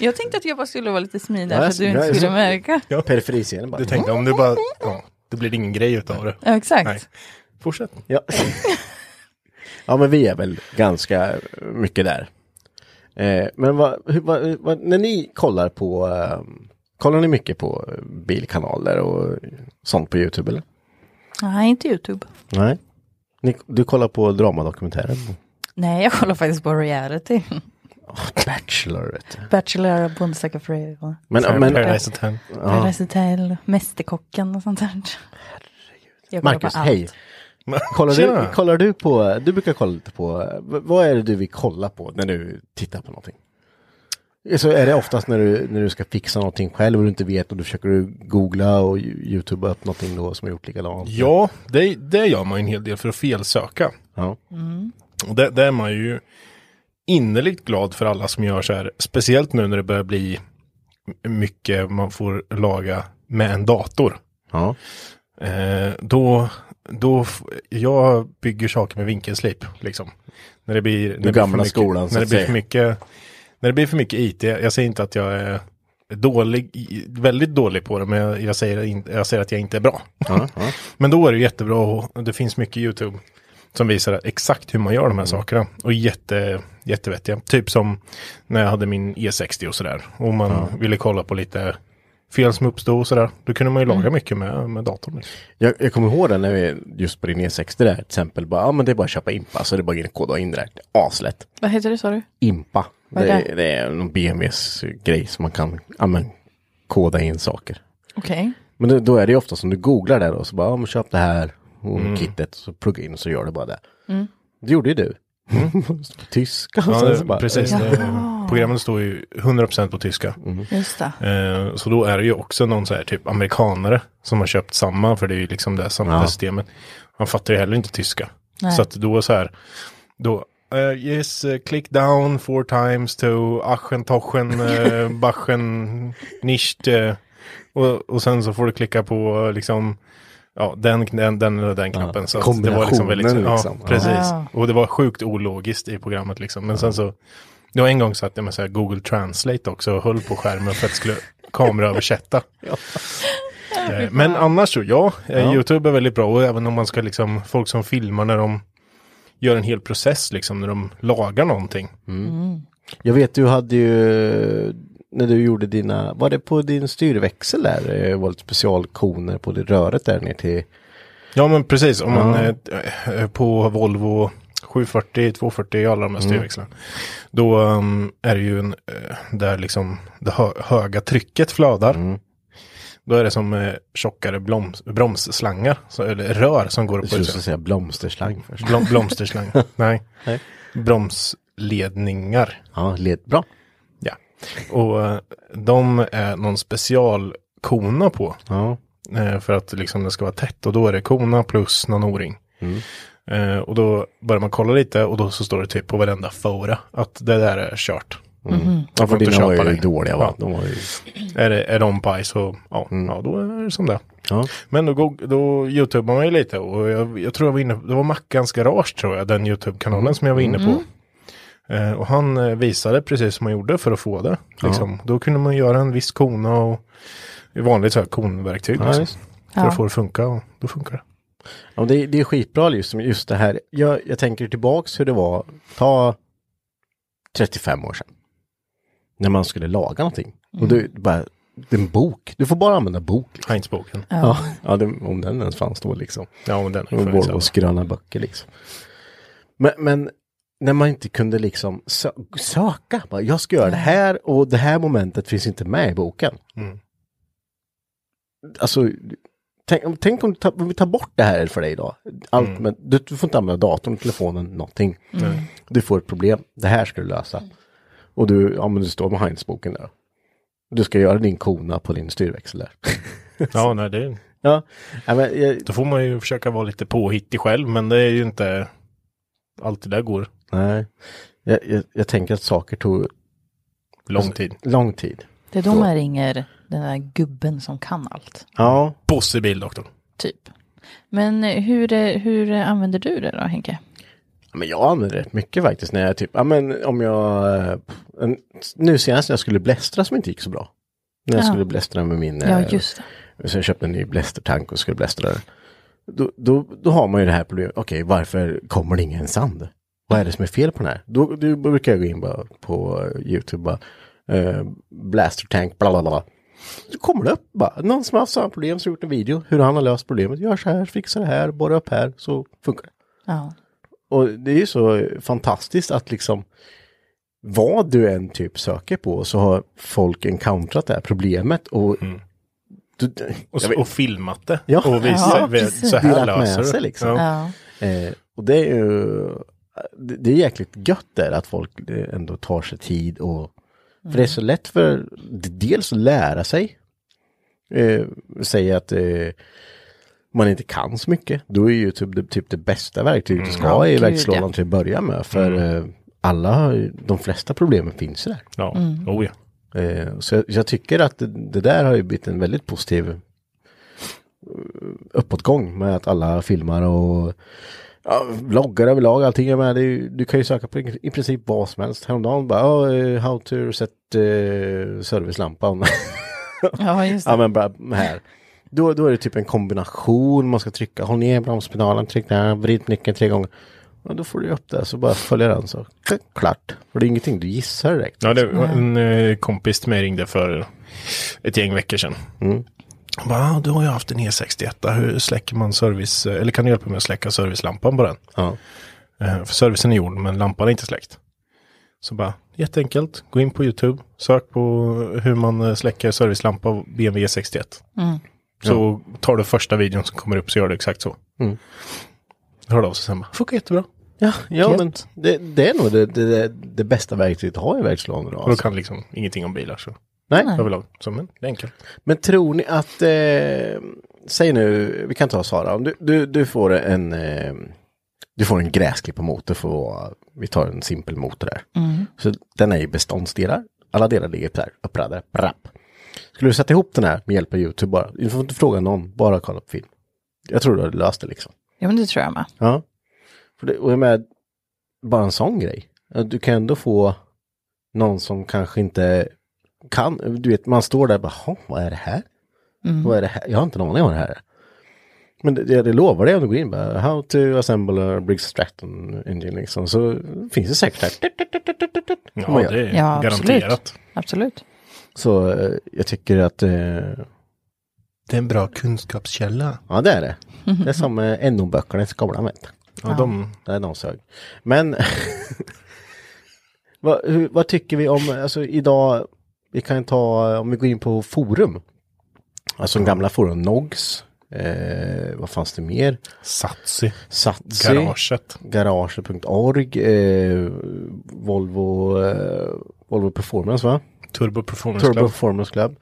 B: Jag tänkte att jag bara skulle vara lite smidig
A: Ja,
B: här så att du
A: jag
B: inte
A: är
B: skulle
A: så-
B: märka.
A: periferiscenen bara.
D: Du tänkte om du bara... Ja, det blir ingen grej utav det.
B: Ja, exakt.
D: Nej. Fortsätt.
A: Ja. ja, men vi är väl ganska mycket där. Eh, men vad, hur, vad, vad, när ni kollar på, eh, kollar ni mycket på bilkanaler och sånt på YouTube eller?
B: Nej, inte YouTube.
A: Nej. Ni, du kollar på dramadokumentärer?
B: Nej, jag kollar faktiskt på reality.
A: Oh, bachelor vet du.
B: Bachelor, Bonde söker fru,
A: Men, men,
D: Paradise Hotel.
B: Paradise Hotel, Mästerkocken och sånt där. Jag kollar på
A: Marcus,
B: allt.
A: hej. Kollar
D: Tjena.
A: du, kollar du på, du brukar kolla lite på, v- vad är det du vill kolla på när du tittar på någonting? Så är det oftast när du, när du ska fixa någonting själv och du inte vet och du försöker du googla och ju- youtuba upp någonting då som har gjort likadant?
D: Ja, det, det gör man ju en hel del för att felsöka.
A: Ja.
D: Och där, där är man ju innerligt glad för alla som gör så här. Speciellt nu när det börjar bli mycket man får laga med en dator.
A: ja.
D: Eh, då, då, f- jag bygger saker med vinkelslip, liksom. När det blir... när
A: gamla
D: det blir för mycket,
A: skolan, så
D: när det
A: att
D: blir
A: säga.
D: för mycket, När det blir för mycket IT, jag säger inte att jag är dålig, i- väldigt dålig på det, men jag, jag, säger, in, jag säger att jag inte är bra.
A: Ja, ja.
D: Men då är det jättebra och det finns mycket YouTube som visar exakt hur man gör de här sakerna. Och jätte, jättevettiga. Typ som när jag hade min E60 och sådär. Och man ville kolla på lite fel som uppstod och sådär. Då kunde man ju laga mycket med, med datorn. Liksom.
A: Jag, jag kommer ihåg den när vi just på din E60 där, till exempel, bara, ja men det är bara att köpa impa, så det är bara att koda in direkt. Aslätt.
B: Vad heter det sa du?
A: Impa.
B: Vad är
A: Det,
B: det?
A: är- det är någon BMWs grej som man kan, ja men, koda in saker.
B: Okej.
A: Men då, då är det ju ofta som du googlar där och så bara, ja men köp det här och
D: Mm.
A: kittet så plugga in och så gör du bara det. Det gjorde ju du. Tyska och
D: Mm. Ja,
A: sen
D: det-
A: så bara,
D: precis.
A: eh,
D: Eh, Programmet står ju 100% på tyska.
B: Mm. Just det.
D: Eh, så då är det ju också någon så här typ amerikanare som har köpt samma, för det är ju liksom det samma
A: Ja.
D: systemet. Han fattar ju heller inte tyska.
B: Nej.
D: Så att då är så här, då, eh, yes, eh, click down four times to aschen, toschen, eh, bachen, nicht. eh, och, och sen så får du klicka på eh, liksom, ja, den, den, den eller den knappen. så att det var liksom väldigt,
A: kombinationen
D: ja,
A: liksom. Ja.
D: precis.
B: Ja.
D: Och det var sjukt ologiskt i programmet liksom. Men sen så, det var en gång satt jag med så här Google Translate också och höll på skärmen för att skulle kameraöversätta. Eh, Men annars så, ja, eh, YouTube är väldigt bra och även om man ska liksom, folk som filmar när de gör en hel process liksom, när de lagar någonting.
A: Jag vet du hade ju, när du gjorde dina, var det på din styrväxel där, eh, var lite specialkoner på det röret där ner till,
D: Ja, men precis, om man eh, eh, på Volvo 740, 240, alla de här styrväxlarna. Då ehm, är det ju en, eh, där liksom det hö höga trycket flödar. Då är det som eh, tjockare bloms bromsslangar, så, eller rör som går
A: jag
D: upp och
A: skulle
D: ut.
A: säga blomsterslang först.
D: Blom blomsterslang, nej.
A: Nej.
D: Bromsledningar.
A: Ja, led, bra.
D: Ja. Och eh, de är någon specialkona på.
A: Ja.
D: eh, För att liksom det ska vara tätt. Och då är det kona plus någon o-ring.
A: Mm.
D: Eh, Och då börjar man kolla lite och då så står det typ på varenda fora att det där är kört.
A: Mm. Ja, för
D: får inte
A: dina var ju
D: köpa det.
A: dåliga va? Mm.
D: Ja.
A: De var ju...
D: Är, det, är de paj så ja, ja, då är det som det är.
A: Ja.
D: Men då, go- då youtubar man ju lite och jag, jag tror jag var inne, det var Mackans Garage tror jag, den YouTube-kanalen som jag var inne på. Eh, och han eh, visade precis som man gjorde för att få det. Liksom. Då kunde man göra en viss kona och vanligt så här konverktyg.
A: Ja,
D: liksom,
A: visst.
D: för
B: Ja.
D: att få det att funka och då funkar det.
A: Ja, men det, det är skitbra just, just det här. Jag, jag tänker tillbaks hur det var, ta 35 år sedan. När man skulle laga någonting. Och du bara, det är en bok. Du får bara använda bok. liksom.
D: Heinzboken.
A: Ja, ja det, om den ens fanns då liksom.
D: Ja, men den har ju
A: Och
D: funnits
A: Volvos gröna böcker liksom. Men, men när man inte kunde liksom sö söka. Bara, Jag ska göra det här och det här momentet finns inte med i boken. Alltså, tänk, om- tänk om, du tar- om vi tar bort det här för dig idag. Allt, men, du, du får inte använda datorn, telefonen, någonting. Du får ett problem, det här ska du lösa. Och du, ja, men du står med Heinz-boken där. Du ska göra din kona på din styrväxel där.
D: Ja, nej, det,
A: ja, nej, men, jag,
D: då får man ju försöka vara lite påhittig själv, men det är ju inte alltid det går
A: nej. Jag, jag, jag tänker att saker tog
D: lång tid.
A: Alltså, lång tid.
B: Det är då man ringer den där gubben som kan allt,
A: Ja,
D: Bosse bildoktorn.
B: typ. Men hur, eh, hur eh, använder du det då, Henke?
A: Ja, Men jag använder det rätt mycket faktiskt när jag typ, ja men om jag, eh, en, nu senast när jag skulle blästra som inte gick så bra. När jag
B: Ja.
A: skulle blästra med min,
B: Ja,
A: eh,
B: just det.
A: så jag köpte en ny blästertank och skulle blästra den. Då, då, då har man ju det här problemet, okej varför kommer det ingen sand? Vad är det som är fel på den här? Då, då brukar jag gå in bara på eh, YouTube bara, eh, blaster tank, bla bla bla. Då kommer det upp bara, någon som har haft samma problem som gjort en video, hur han har löst problemet, gör så här, fixa det här, borra upp här, så funkar det.
B: Ja.
A: Och det är ju så fantastiskt att liksom vad du än typ söker på så har folk encountrat det här problemet och du, d-
D: Och,
A: jag
D: s-
A: vet,
D: och filmat det.
A: Ja.
D: Och
B: Ja,
D: visat, ja,
B: precis.
D: så här
A: Delat med
D: löser
A: sig
D: du.
A: liksom.
D: Ja.
B: ja.
A: eh, och det är ju det, det är jäkligt gött där att folk eh, ändå tar sig tid och för det är så lätt för d- dels att lära sig eh, säga att eh, man inte kan så mycket då är ju typ det, typ det bästa verktyget du ska ha i
B: gud,
A: verktygslådan
B: Mm. ja. Mm.
A: till att börja med för eh, alla har ju- de flesta problemen finns ju där.
D: Ja,
A: Mm.
D: oh, ja.
A: Eh, Så jag, jag tycker att det, det där har ju blivit en väldigt positiv eh, uppåtgång med att alla filmar och ja, vloggar överlag. Allting är med. Det är, ju- du kan ju söka på i i princip vad som helst. Häromdagen bara, "Ja, eh, how to set eh, servicelampan.
B: ja, just
A: ja
B: det.
A: men bara här. Då, då är det typ en kombination. Man ska trycka, håll ner bromspedalen, tryck där, vrid nyckeln tre gånger. Och då får du upp det så bara följer den så klick, klart. För det är ingenting du gissar direkt.
D: Ja, det var en eh, kompis till mig ringde för ett gäng veckor sedan.
A: Mm.
D: Han bara, "Ah, du har ju haft en E61, hur släcker man service, eller kan du hjälpa mig att släcka servicelampan på den?
A: Ja.
D: Eh, För servicen är gjord, men lampan är inte släckt. Så bara, jätteenkelt, gå in på YouTube, sök på hur man eh, släcker servicelampa av BMW E61. E
B: Mm.
D: Så tar du första videon som kommer upp så gör du exakt så.
A: Mm.
D: Hörde av sig sen, bara, funkar jättebra.
A: Ja, ja
D: Gött.
A: men det, det är nog det, det, det, det bästa verktyget att ha i verktygslådan idag.
D: Och då
A: Alltså.
D: kan liksom ingenting om bilar så
A: Nej.
D: överlag. Så men, det är enkelt.
A: Men tror ni att, eh, säg nu, vi kan ta Sara, om du, du, du får en eh, du får en gräsklipparmotor för att vara- vi tar en simpel motor där. Så den är ju beståndsdelar, alla delar ligger där, uppradade, brapp. Skulle du sätta ihop den här med hjälp av YouTube bara, du får inte fråga någon, bara kolla på film. Jag tror du hade löst det liksom.
B: Ja, men det tror jag med.
A: Ja. För det, och jag menar, bara en sån grej. Ja, Du kan ändå få någon som kanske inte kan. Du vet, man står där och bara, "Jaha, vad är det här? Vad är det här? Jag har inte någon aning om vad det här är. Men det, jag lovar dig om du går in bara, how to assemble a Briggs Stratton engine liksom, så finns det säkert där. Tut, tut, tut, tut, tut, tut,
D: Ja,
A: som man gör.
D: det är
B: Ja, absolut.
D: garanterat.
B: Absolut.
A: Så eh, jag tycker att, eh,
D: Det är en bra kunskapskälla.
A: ja det är det. Det är som eh, NO-böckerna i skolan vet du.
D: Ja, de,
A: Nej, någon sög. Men vad, hur, vad tycker vi om, alltså idag, vi kan ta, om vi går in på forum. Alltså de gamla forum, Nogs, eh, vad fanns det mer?
D: Satsi,
A: Satsi,
D: garaget.
A: Garage.org, eh, Volvo, eh, Volvo Performance va?
D: Turbo Performance
A: Turbo
D: Club.
A: Performance Club.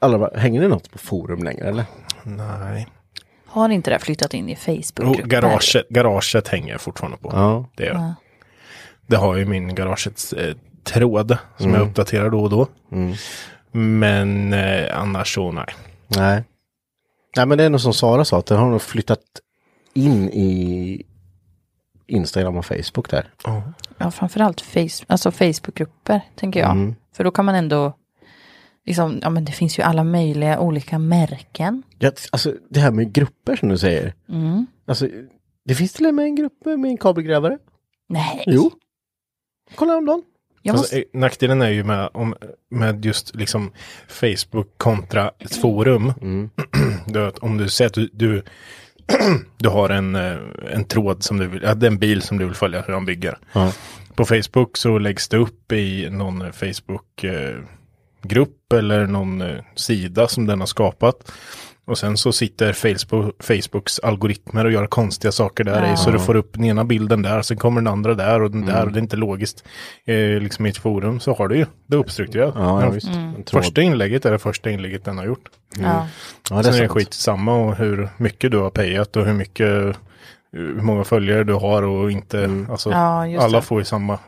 A: Alla, bara, hänger det något på forum längre eller?
D: Nej.
B: Har inte det här flyttat
A: Oh,
B: in i
D: Och
B: Facebook-grupper?
D: garaget, garaget hänger jag fortfarande på.
A: Ja.
D: Det, gör. jag. det har ju min garagets eh, tråd som
A: Mm.
D: jag uppdaterar då och då. Men eh, annars så nej.
A: Nej. Nej men det är nog som Sara sa, att den har nog flyttat in i Instagram och Facebook där.
B: Ja, framförallt face, alltså Facebookgrupper, tänker jag.
A: Mm.
B: För då kan man ändå, liksom, ja men det finns ju alla möjliga olika märken.
A: Ja, alltså det här med grupper som du säger. Alltså det finns till och med en grupp med en kabelgrävare.
B: Nej,
A: Jo. Kolla om dem.
B: jag
D: Alltså,
B: måste,
D: eh, nackdelen är ju med, om, med just liksom Facebook kontra ett forum. Det är att om du säger att du, du du har en, eh, en tråd som du vill, ja, det är en bil som du vill följa hur han bygger.
A: Ja.
D: På Facebook så läggs det upp i någon eh, Facebook-grupp eller någon eh, sida som den har skapat. Och sen så sitter Facebook, Facebooks algoritmer och gör konstiga saker där i. Så du får upp den ena bilden där, sen kommer den andra där och den där. Och det är inte logiskt. Eh, liksom i ett forum så har du ju det uppstrukturerat.
A: Ja, ja
D: Men
A: visst. En tråd.
D: Första inlägget är det första inlägget den har gjort.
A: eh,
B: Ja.
A: mm. Ja, det
D: Sen
A: är
D: är det
A: sant.
D: skitsamma och hur mycket du har payat och hur mycket hur många följare du har och inte. Alltså,
B: Ja, just
D: alla
B: det.
D: får ju samma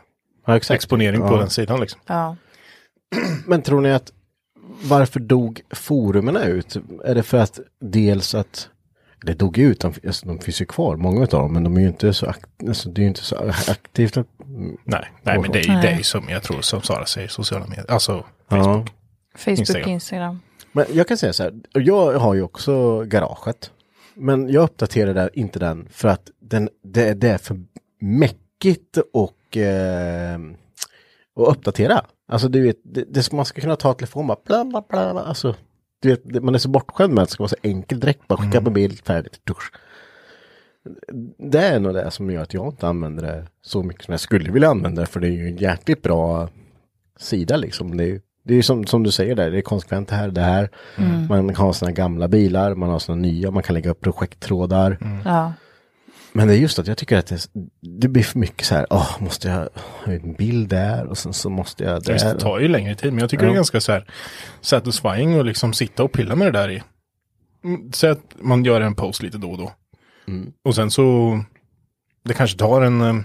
A: Ja, exakt.
D: exponering på
A: Mm. Ja.
D: den sidan liksom.
B: Ja.
A: Men tror ni att varför dog forumen ut? Är det för att dels att det dog ut, de, alltså, de finns ju kvar, många av dem, men de är ju inte så, akt, alltså, det är ju inte så aktivt. Att,
D: Nej, nej men det är ju
B: Nej.
D: det är ju som jag tror som Sara säger, sociala medier. Alltså,
A: ja.
B: Facebook,
D: Instagram.
B: Instagram.
A: Men jag kan säga så här, jag har ju också garaget. Men jag uppdaterar där, inte den för att den, det, det är för mäckigt och, eh, och uppdatera. Alltså du vet, det, det, man ska kunna ta telefon bara bla bla bla. bla. Alltså, du vet, det, man är så bortskämd med att det ska vara så enkelt direkt. Bara skicka på bild, färdigt, dusch. Det är nog det som gör att jag inte använder det så mycket som jag skulle vilja använda det, för det är ju en jäkligt bra sida liksom. Det är, ju- det är ju som, som du säger där, det är konsekvent det här, det här. Man har sina gamla bilar, man har sina nya, man kan lägga upp projekttrådar.
D: Mm.
B: Ja.
A: Men det är just att jag tycker att det, det blir för mycket så här, åh, måste jag ha en bild där och sen så måste jag
D: visst, det
A: där.
D: tar ju längre tid, men jag tycker
A: Ja.
D: det är ganska så här satisfying att liksom sitta och pilla med det där i. Mm, Säg att man gör en post lite då och då.
A: Mm.
D: Och sen så, det kanske tar en eh,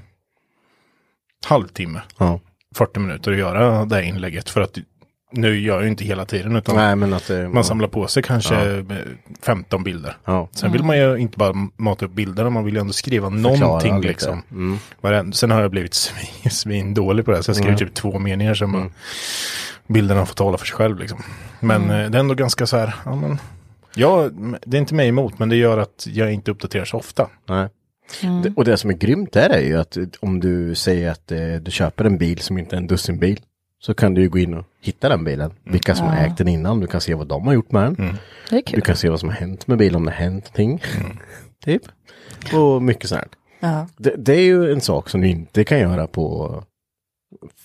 D: halvtimme.
A: Ja.
D: 40 minuter att göra det här inlägget. För att nu gör jag ju inte hela tiden utan
A: Nej, men att det,
D: man samlar på sig kanske eh, 15 bilder.
A: Ja.
D: Sen vill man ju inte bara mata upp bilderna, man vill ju ändå skriva någonting
A: lite. Mm.
D: liksom. Varenda- Sen har jag blivit svin, svin dålig på det här, så jag skrev typ två meningar som bara bilderna får tala för sig själv liksom. Men eh, det är ändå ganska så här, ja men. Ja, det är inte mig emot, men det gör att jag inte uppdaterar så ofta.
A: Nej.
B: Mm.
A: Det, och det som är grymt där är ju att eh, om du säger att eh, du köper en bil som inte är en dussinbil så kan du ju gå in och hitta den bilen. Vilka som har ägt den innan, du kan se vad de har gjort med den.
B: Det är
A: Du
B: kul.
A: kan se vad som har hänt med bilen, om det har hänt någonting. typ. Och mycket sånt. här.
B: Ja.
A: Det, det är ju en sak som du inte kan göra på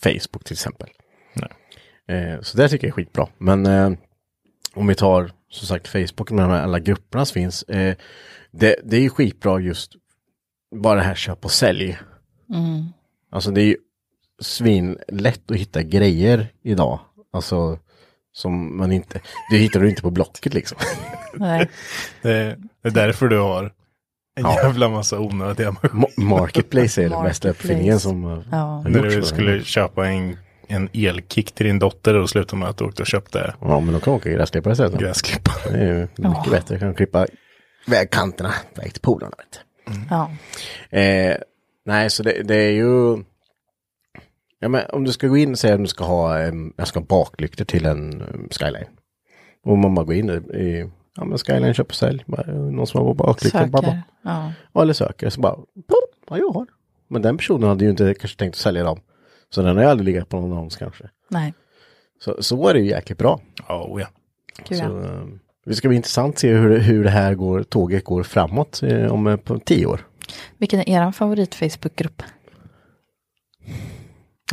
A: Facebook till exempel. Eh, så det tycker jag är skitbra. Men eh, om vi tar som sagt Facebook med de här alla grupperna som finns. Eh, det, det är ju skitbra just bara det här köp och sälj. Alltså det är ju svinlätt att hitta grejer idag. Alltså som man inte, det hittar du inte på Blocket liksom.
B: Nej.
D: Det, det är därför du har en jävla massa onödiga
A: Ma- Marketplace är den bästa
B: Marketplace.
A: uppfinningen som eh,
B: Ja.
A: har
D: När
A: gjorts,
D: du
A: va?
D: skulle köpa en, en elkick till din dotter och slutade med att du åkte och köpte
A: Ja, men de kan åka gräsklippare sen. Det
D: gräsklippare.
A: är ju mycket bättre. kan klippa vägkanterna, väg till polarna. Vet. du.
B: Ja.
A: Eh, nej, så det, det är ju... Ja, men om du ska gå in och säga att du ska ha, em, jag ska ha baklyktor till en em, skyline. Och man bara går in i- i, ja men skyline köp och sälj. Bara, eh, Någon som har baklyktor. bara, bara.
B: Söker. Ja.
A: Ja, eller söker. Så bara, plopp, ja jag har. Men den personen hade ju inte kanske tänkt att sälja dem. Så den har ju aldrig legat på någon annons kanske.
B: Nej.
A: Så, så är det ju jäkligt bra.
D: Ja, oh, ja.
B: Gud, ja.
A: Så, eh, det ska bli intressant att se hur, hur det här går, tåget går framåt eh, om eh, på tio år.
B: Vilken är er favorit Facebookgrupp?
D: ja.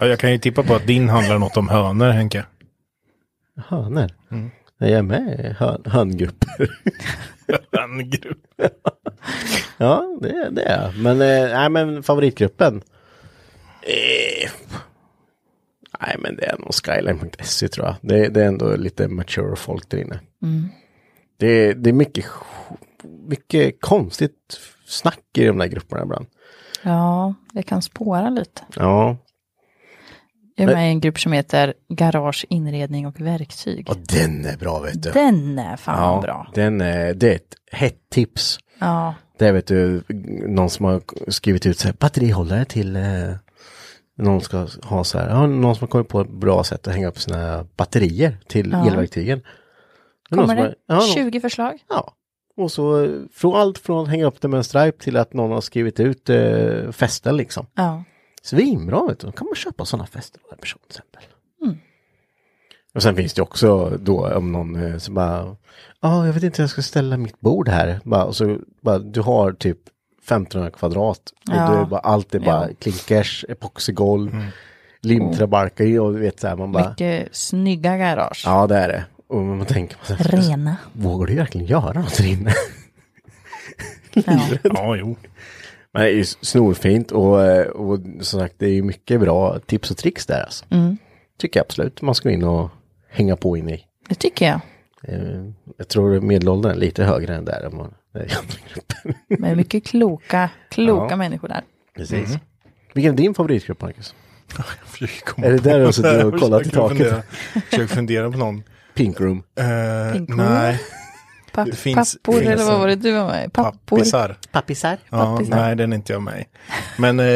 D: Jag kan ju tippa på att din handlar något om hönor, Henke.
A: Hönor. Jag är med i hön, höngrupper.
D: Höngrupp.
A: ja, det, det är jag. Men, eh, nej, men favoritgruppen? Eh, nej, men det är nog skyline.se E, tror jag. Det, det är ändå lite mature folk där inne. Det, det är mycket, mycket konstigt snack i de där grupperna ibland.
B: Ja, det kan spåra lite.
A: Ja,
B: Jag är med i en grupp som heter Garage, inredning och verktyg.
A: och den är bra vet du.
B: Den är fan
A: Ja,
B: bra.
A: Den, är- det är ett hett tips.
B: Ja,
A: Det är vet du, någon som har skrivit ut så här, batterihållare till eh, någon ska ha så här, ja, någon som har kommit på ett bra sätt att hänga upp sina batterier till elverktygen. Det är någon
B: kommer
A: som
B: det?
A: har- ja, någon-
B: 20 förslag?
A: Ja. Och så eh, från allt från att hänga upp det med en stripe till att någon har skrivit ut eh, fästen liksom.
B: Ja. Mm.
A: Svinbra vet du, då kan man köpa sådana fästen på en person till exempel. Och sen finns det också då om någon eh, som bara, ja, jag vet inte hur jag ska ställa mitt bord här. Bara, och så bara, du har typ 1500 kvadrat och
B: Ja.
A: då är det bara, allt är bara klinkers, epoxigolv, limträbalkar i och du vet så här, man bara,
B: Mycket snygga garage.
A: ja det är det. Och man tänker, man så här,
B: Rena.
A: vågar du verkligen göra något där inne?
B: Ja.
D: Ja, jo.
A: Men det är ju snorfint och, eh, och som sagt det är ju mycket bra tips och tricks där alltså. Tycker jag absolut man ska gå in och hänga på in i.
B: Det tycker jag.
A: Eh, Jag tror medelåldern är lite högre än där. Om man, där i andra gruppen.
B: Men mycket kloka, kloka
A: Ja.
B: människor där.
A: Precis. Vilken är din favoritgrupp Marcus?
D: Är
A: det där du har suttit och kollat i taket?
D: Försöker fundera på någon.
A: Pink Room.
D: Eh,
B: Pink
D: nej,
B: Pa-
D: Det finns-
B: pappor
D: det finns
B: eller vad
D: en-
B: var det du var med i? Pappor.
D: pappisar.
A: Pappisar.
D: Ja,
B: Pappisar.
D: nej, den är inte jag med i. Men eh,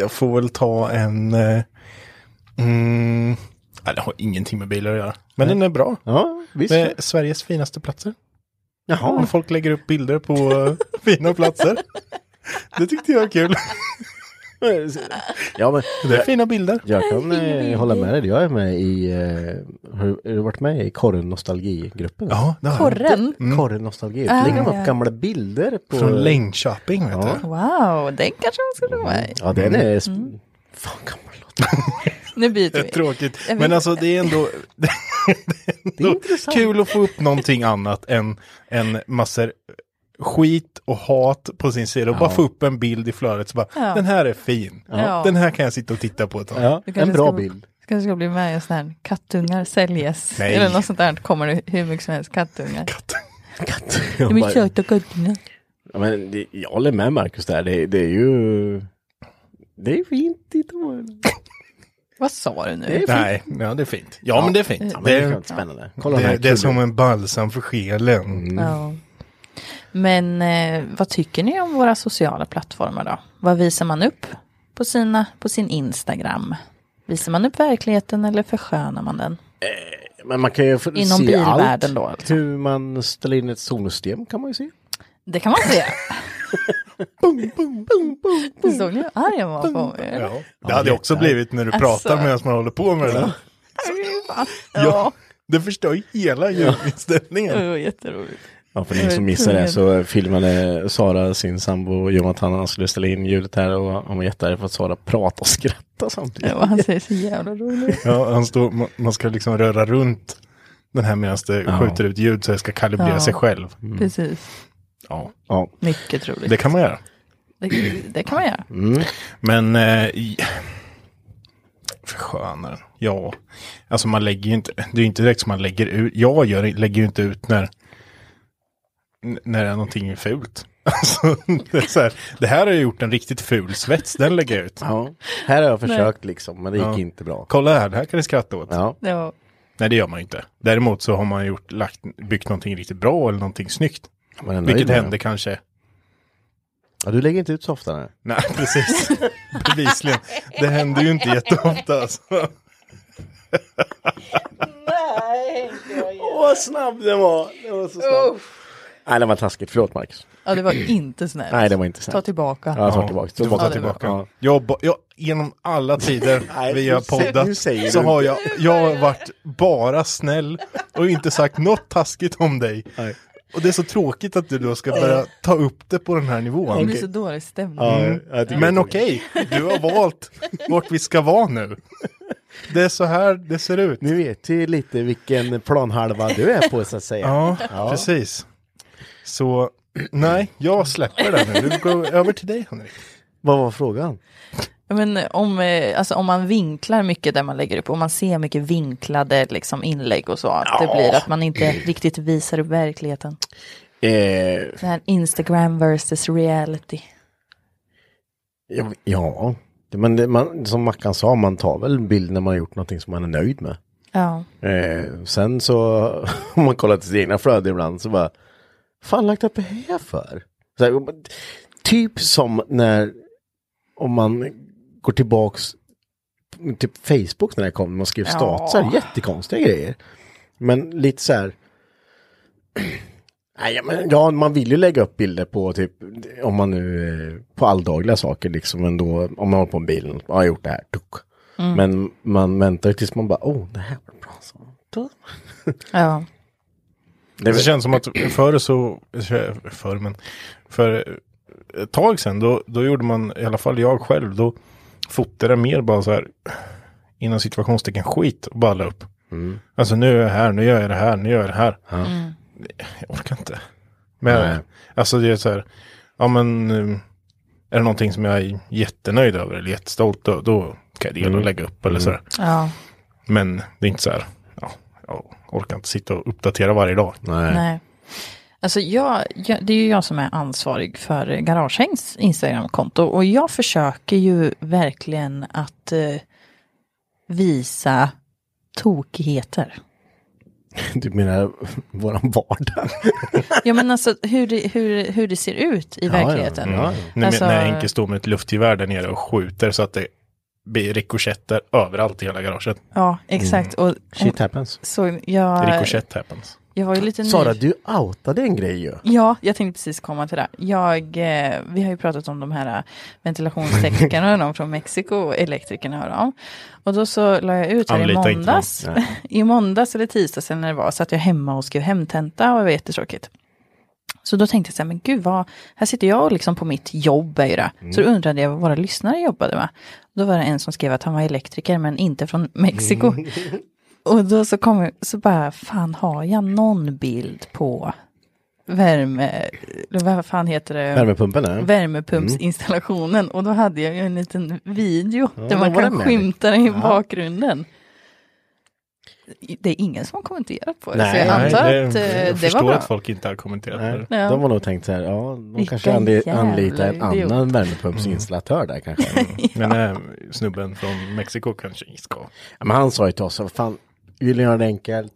D: jag får väl ta en... Eh, mm, nej, det har ingenting med bilar att göra. Men den är bra.
A: Ja, visst.
D: Det är Sveriges finaste platser.
A: Jaha.
D: Och Folk lägger upp bilder på eh, fina platser. Det tyckte jag var kul.
A: Ja, men
D: Det är fina bilder.
A: jag kan eh, hålla med dig. Jag är med i, eh, har du- har du varit med i Korren Nostalgigruppen?
D: Ja, det har jag.
B: Korren.
A: Korren Nostalgi. Lägger de upp gamla bilder på...
D: Från Längdköping, vet
A: Ja.
D: du.
B: Wow, den kanske man skulle vara med i.
A: Ja, den är... Mm. Fan, gammal låt.
B: Nu byter
D: Det är
B: vi.
D: tråkigt.
B: Jag vet-
D: Men alltså det är ändå, det är ändå kul att få upp någonting annat än, än massor skit och hat på sin sida och bara få upp en bild i flödet så bara, den här är fin.
B: Ja.
D: Den här kan jag sitta och titta på ett tag.
A: Ja,
B: Du kanske
A: en bra
B: ska-
A: bild.
B: kanske ska bli med i en sån här kattungar säljes.
D: Nej.
B: Eller något sånt där. Kommer det hur mycket som helst kattungar.
A: Katt.
B: De är söta kattungar.
A: Ja, men det, jag håller med Marcus där. Det, det är ju... Det är fint i tårna.
B: Vad sa du nu?
D: Nej, ja det är fint. Ja, men det är fint.
A: Ja, men
D: det,
A: det är
D: är,
A: skönt, spännande. Kolla den
D: det,
A: här
D: det är Mm. som
A: kullen.
D: en balsam för själen.
B: Ja. Men eh, vad tycker ni om våra sociala plattformar då? Vad visar man upp på, sina, på sin Instagram? Visar man upp verkligheten eller förskönar man den?
A: Men man kan ju få-
B: Inom
A: se
B: bilvärlden
A: allt.
B: då, alltså.
A: Hur man ställer in ett solsystem kan man ju se.
B: Det kan man se. Såg ni hur arg jag var på
D: Ja.
B: er?
D: Det hade jag också blivit när du pratar
B: Alltså.
D: medan man håller på med det där.
B: Ja,
D: Det förstör ju hela ljudinställningen.
B: det var jätteroligt.
A: Ja, för ni som missade det så filmade Sara sin sambo Jonathan. Han skulle ställa in ljudet här och han var jättearg för att Sara pratade och skrattade samtidigt.
B: Ja, han säger så jävla roligt.
D: Ja, han står, ma- man ska liksom röra runt den här medan det skjuter ut ljud så det ska kalibrera
B: Ja.
D: sig själv.
B: Precis.
D: Ja.
A: Ja.
B: Mycket roligt.
D: Det kan man göra.
B: Det, det kan man göra.
A: Mm.
D: Men eh, i- förskönaren, ja. Alltså man lägger ju inte, det är ju inte direkt som man lägger ut, jag gör, lägger ju inte ut när, n- när det är någonting fult. Alltså, det, är så här, det här har jag gjort en riktigt ful svets, den lägger jag ut.
A: ja. Här har jag försökt liksom, men det gick inte bra.
D: Kolla här, det här kan ni skratta åt.
A: Ja.
B: Ja.
D: Nej, det gör man ju inte. Däremot så har man gjort, lagt, byggt någonting riktigt bra eller någonting snyggt.
A: men ändå
D: Vilket
A: är det.
D: händer kanske
A: Ja, du lägger inte ut så ofta nu.
D: Nej, precis. Bevisligen. Det händer ju inte jätteofta. Alltså.
A: Åh, vad snabb den var! Den var så snabb. Nej, den var taskigt. Förlåt, Marcus.
B: ja, det var inte snällt.
A: Nej, det var inte snällt.
B: Ta tillbaka.
A: Ja, jag tar tillbaka.
D: Du får ta tillbaka. Jag, ba- jag, genom alla tider
A: Nej,
D: vi har
A: nu säger- nu
D: poddat
A: säger
D: så
A: du
D: har jag, jag har varit bara snäll och inte sagt något taskigt om dig.
A: Nej.
D: Och det är så tråkigt att du då ska börja ta upp det på den här nivån.
B: Det blir så dålig stämning.
D: Mm. Men okej, du har valt vart vi ska vara nu. Det är så här det ser ut.
A: Nu vet vi lite vilken planhalva du är på, så att säga.
D: Ja, precis. Så nej, jag släpper det nu. Vi går över till dig Henrik.
A: Vad var frågan?
B: Men om, eh, alltså, om man vinklar mycket där man lägger upp, om man ser mycket vinklade liksom, inlägg och så, att det blir att man inte riktigt visar upp verkligheten.
A: Eh,
B: Det här Instagram versus reality.
A: ja, ja. Det- men det, man, som Mackan sa, man tar väl en bild när man har gjort någonting som man är nöjd med.
B: Ja,
A: Eh, sen så, om man kollar till sina egna flöden ibland så bara, fan lagt upp det här för? Så här, typ som när, om man går tillbaks, typ Facebook när det kom, när man skrev statusar, jättekonstiga grejer. Men lite så här, Nej, ja, men, ja, man vill ju lägga upp bilder på typ, om man nu, eh, på alldagliga saker liksom ändå, om man har på en bil, ja, jag har gjort det här, tuck. Men man väntar ju tills man bara, oh, det här var bra. Så.
B: Ja.
A: Det är
E: Det
A: väl-
E: känns som att förr så, förr men, för ett tag sedan då, då gjorde man, i alla fall jag själv, då fotade jag mer bara så här inom situationstecken skit och bara la upp. Alltså nu är jag här, nu gör jag det här, nu gör jag det här. Jag orkar inte. Men
A: Nej.
E: alltså det är så här, ja men eh, är det någonting som jag är jättenöjd över eller jättestolt över, då kan jag dela och lägga upp eller så här.
B: ja.
E: Men det är inte så här, ja, jag orkar inte sitta och uppdatera varje dag.
A: Nej.
B: Nej. Alltså jag, jag, det är ju jag som är ansvarig för Garagehängs Instagramkonto och jag försöker ju verkligen att eh, visa tokigheter.
A: Du menar Typ våran vardag?
B: Ja men alltså hur det, hur, hur det ser ut i verkligheten.
E: Ja, när,
B: Alltså-
E: när Henke står med ett luftgevär där nere och skjuter så att det blir rikoschetter överallt i hela garaget.
B: Ja, exakt. Och, och
A: Shit happens.
B: så jag,
E: Rikoschett happens.
B: jag var ju lite
A: Sara,
B: ny.
A: du outade en grej ju.
B: Ja, jag tänkte precis komma till det. Jag, eh, vi har ju pratat om de här eh, ventilationsteknikerna och de från Mexiko, elektrikerna och dem. Och då så la jag ut här i
E: Anlita inte
B: måndags, i måndags eller tisdags eller när det var, satt jag hemma och skrev hemtenta och det var jättetråkigt. Så då tänkte jag så här, men gud vad, här sitter jag och liksom på mitt jobb är ju det.
A: Mm.
B: Så då undrade jag vad våra lyssnare jobbade med. Då var det en som skrev att han var elektriker men inte från Mexiko.
A: Mm.
B: Och då så kom jag, så bara, fan har jag någon bild på värme, eller vad fan heter det?
A: Värmepumpen är.
B: Värmepumpsinstallationen. Och då hade jag ju en liten video där man
A: då var
B: kan
A: det med.
B: skymta den i bakgrunden. Det är ingen som har kommenterat på det, så
A: Nej,
B: jag
A: nej,
B: antar
E: det,
B: att
E: jag
B: eh, det
E: förstår
B: var bra.
E: att folk inte har kommenterat
A: Nej,
E: det.
B: Ja.
A: De har nog tänkt så här, ja, de
B: Vilken
A: kanske anli-
B: jävla
A: anlitar en
B: idiot. Mm.
A: annan värmepumpsinstallatör där kanske.
E: Men eh, snubben från Mexiko kanske inte ska.
A: Ja, Men han sa ju till oss, vad fan, vill ni göra det enkelt,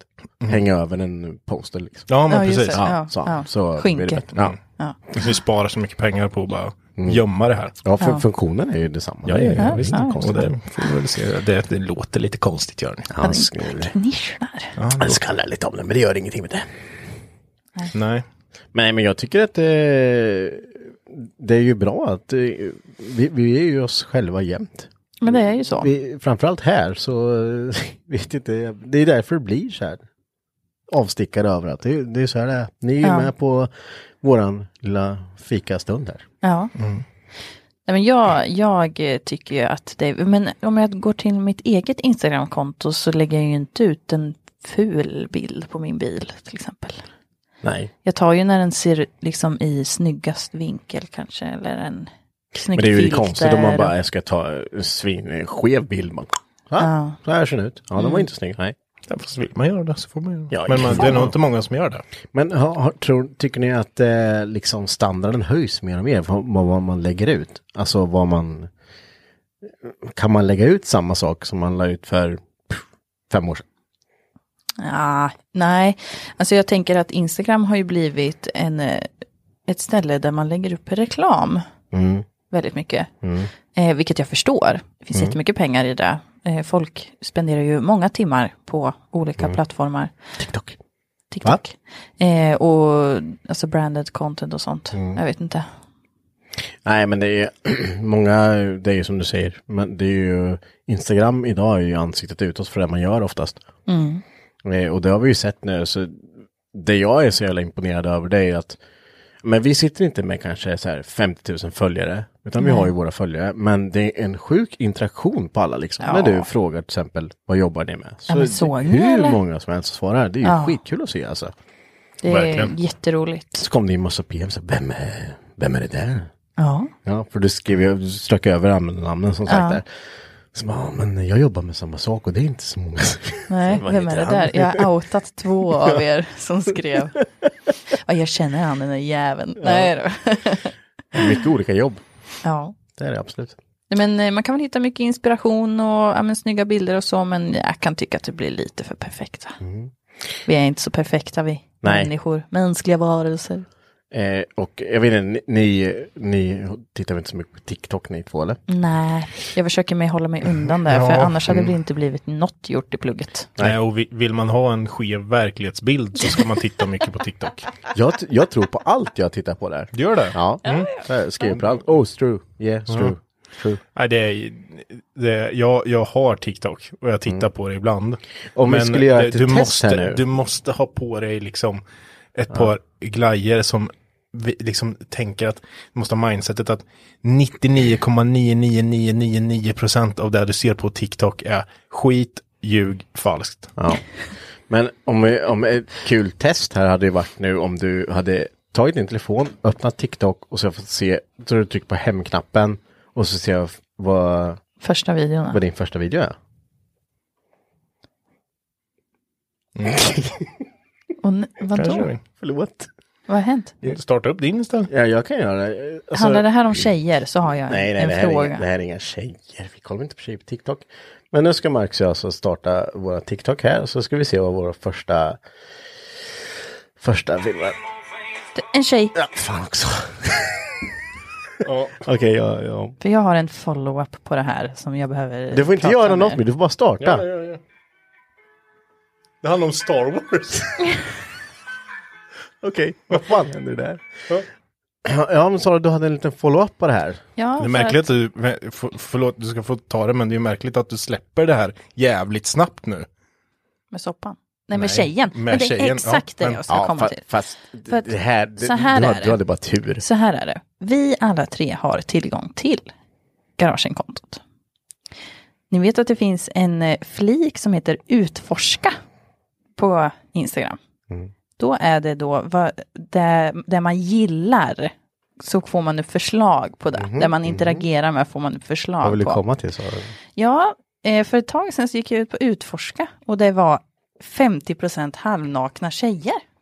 A: häng över en poster liksom.
E: Ja, men
B: Ja, just
E: precis.
B: det. Ja,
A: sa
B: ja.
A: han. Så blir det
B: Skynke.
A: bättre. Ja.
B: Ja.
E: Vi sparar så mycket pengar på att bara gömma det här.
A: Ja, för funktionen är ju detsamma. Det är ju inte
E: Och
A: konstigt.
E: det, får vi väl se. det, det låter lite konstigt gör ni.
A: Han skulle...
B: Nischar.
A: Han skallar lite om det, men det gör ingenting med det.
E: Nej.
A: Nej, men jag tycker att eh, det är ju bra att eh, vi, vi är ju oss själva jämt.
B: Men det är ju så.
A: Vi, framförallt här så eh, vet inte, det är därför det blir så här avstickare överallt. Det, är- det är så här det är. Ni är ju
B: Ja.
A: med på våran lilla fikastund här.
B: Ja.
A: Mm.
B: Nej, men jag, jag eh, tycker ju att det, men om jag går till mitt eget Instagramkonto så lägger jag ju inte ut en ful bild på min bil till exempel.
A: Nej.
B: Jag tar ju när den ser liksom i snyggast vinkel kanske eller en snygg
A: Men det är ju
B: filter.
A: konstigt om man bara jag ska ta en svin, en skev bild. Man, "Ah, Så här ser den ut. Ja, den
B: Mm.
A: var inte snygg. Nej.
E: Ja, fast vill man göra det så får man göra det.
A: Ja,
E: men man, det är
A: fan.
E: nog inte många som gör det.
A: Men har, har, tror, tycker ni att eh, liksom standarden höjs mer och mer för vad, vad man lägger ut? Alltså vad man... Kan man lägga ut samma sak som man la ut för pff, fem år sedan?
B: Ja, nej, alltså jag tänker att Instagram har ju blivit en, eh, ett ställe där man lägger upp reklam väldigt mycket. Eh, vilket jag förstår, det finns jättemycket pengar i det. Eh, folk spenderar ju många timmar på olika plattformar.
A: TikTok.
B: TikTok. Eh, och alltså branded content och sånt. Jag vet inte.
A: Nej, men det är många, det är ju som du säger, men det är ju Instagram idag är ju ansiktet utåt för det man gör oftast.
B: Mm.
A: Eh, Och det har vi ju sett nu, så det jag är så jävla imponerad över det är att men vi sitter inte med kanske så här 50 000 följare, utan vi har ju våra följare, men det är en sjuk interaktion på alla liksom. När du frågar till exempel, vad jobbar ni med? Så
B: men såg ni,
A: hur
B: eller?
A: många som helst svarar, det är ju
B: Ja.
A: skitkul att se alltså.
B: Det är
E: Verkligen.
B: jätteroligt.
A: Så kom det ju en massa PM, så här, vem, är, vem är det där?
B: Ja.
A: Ja, för du skrev ju, du strök över användarnamnen som sagt där. Så bara, ja, men jag jobbar med samma sak och det är inte så många. som-
B: Nej,
A: Vad
B: vem är
A: heter
B: det
A: han?
B: där? Jag har outat två av er som skrev. Ja, jag känner han den där jäveln. Nej då.
A: Mycket olika jobb.
B: Ja.
A: Det är det absolut.
B: Nej, Men eh, man kan väl hitta mycket inspiration och ja, men, snygga bilder och så, men jag kan tycka att det blir lite för perfekta. Vi är inte så perfekta vi,
A: Mm. Nej.
B: människor, mänskliga varelser.
A: Eh, och jag vet inte, ni, ni, ni tittar väl inte så mycket på TikTok ni två eller?
B: Nej, jag försöker mig hålla mig undan där,
E: Ja,
B: för annars
A: mm.
B: hade det inte blivit något gjort i plugget.
E: Nej, och vi- vill man ha en skev verklighetsbild så ska man titta mycket på TikTok.
A: Jag, t- jag tror på allt jag tittar på där.
E: Gör det?
A: Ja, mm. Så här, skriver på allt. Oh, it's true. Yeah, it's true. True.
E: Nej, det är, det, jag, jag har TikTok och jag tittar på det ibland.
A: Mm. Om vi skulle göra
E: det-
A: ett
E: du,
A: test
E: måste,
A: här nu.
E: du måste ha på dig liksom ett par glajer som vi- liksom tänker att, du måste ha mindsetet att 99,99999% av det du ser på TikTok är skit, ljug, falskt.
A: Ja. Men om, vi- om ett kul test här hade ju varit nu om du hade tagit din telefon, öppnat TikTok och så fått se, så du trycker på hemknappen och så ser jag f- vad,
B: Första videon.
A: vad din första video är.
B: Och, n-
E: Kanske
B: vadå?
E: vi-
A: Förlåt.
B: Vad har hänt?
E: Starta upp din istället.
A: Ja, jag kan göra det. Alltså-
B: Handlar det här om tjejer så har jag
A: Nej, nej,
B: en
A: det här, är,
B: fråga.
A: inga- det här är inga tjejer. Vi kollar inte på tjejer på TikTok. Men nu ska Marcus och jag alltså starta våra TikTok här. Så ska vi se vad våra första... Första filmer...
B: En tjej.
A: Ja, fan också. Okej, ja, ja.
B: För jag har en follow-up på det här som jag behöver
A: Du får inte
B: prata
A: göra
B: med.
A: något mer, du får bara starta.
E: Ja, ja, ja. Det handlar om Star Wars.
A: Okej, vad fan händer där? Ja, men Sara, du hade en liten follow-up på det här.
B: Ja,
E: Det
B: för
E: är märkligt att du, för- förlåt du ska få ta det, men det är märkligt att du släpper det här jävligt snabbt nu.
B: Att, med soppan. Nej, med
E: Nej,
B: tjejen.
E: med
B: men det är
E: tjejen, ja,
B: exakt det
E: men-
B: jag ska komma
A: fa-
B: till.
A: fast
B: För att
A: det här, det,
B: så här
A: du,
B: är
A: hade,
B: det.
A: du hade bara tur.
B: Så här är det. Vi alla tre har tillgång till Garagen-kontot. Ni vet att det finns en eh, flik som heter utforska på Instagram.
A: Mm.
B: Då är det då vad, det, det man gillar så får man upp förslag på det. Det man interagerar med får man upp förslag
A: Mhm, Vad vill du
B: på.
A: komma till Sara?
B: Ja, eh, för ett tag sedan så gick jag ut på utforska och det var 50 halvnakna tjejer.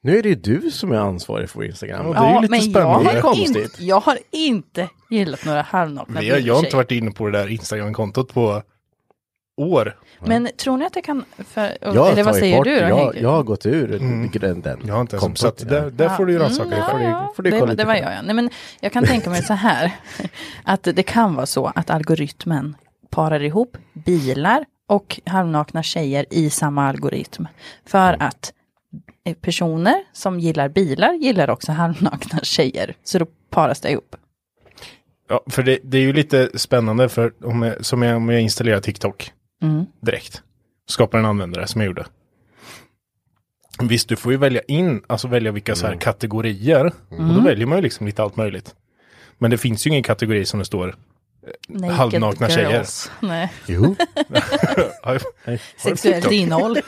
A: Nu är det ju du som är ansvarig för Instagram.
E: Ja, det är ju lite
B: men jag har,
E: spännande.
B: inte-
A: Konstigt.
B: jag har inte gillat några halvnakna
E: Vi har, jag har inte
B: tjejer.
E: varit inne på det där Instagram-kontot på år.
B: Men tror ni att jag kan... För,
A: Jag har
B: eller vad
A: tagit
B: säger
A: bort,
B: du då,
A: jag,
B: Henrik?
A: jag har gått ur den, den
E: Mm. Jag har inte ens
A: kontot,
E: så att
A: ja.
E: där, där får du ju rannsaka dig själv.
B: Ja,
A: får du kolla
B: det,
A: lite
B: det var
A: på
B: jag, ja. Nej, men jag kan tänka mig så här, att det kan vara så att algoritmen parar ihop bilar och halvnakna tjejer i samma algoritm. För
E: Mm.
B: att eh, personer som gillar bilar gillar också halvnakna tjejer. Så då paras det ihop.
E: Ja, för det, det är ju lite spännande för om jag, som jag, om jag installerar TikTok
B: Mm.
E: direkt. Skapar en användare som jag gjorde. Visst, du får ju välja in, alltså välja vilka så här
A: Mm.
E: kategorier. Och
B: Mm.
E: då väljer man ju liksom lite allt möjligt. Men det finns ju ingen kategori som det står
B: Naked
E: Halvnakna tjejer.
B: girls. Nej.
A: Jo,
B: Sexuellt innehåll.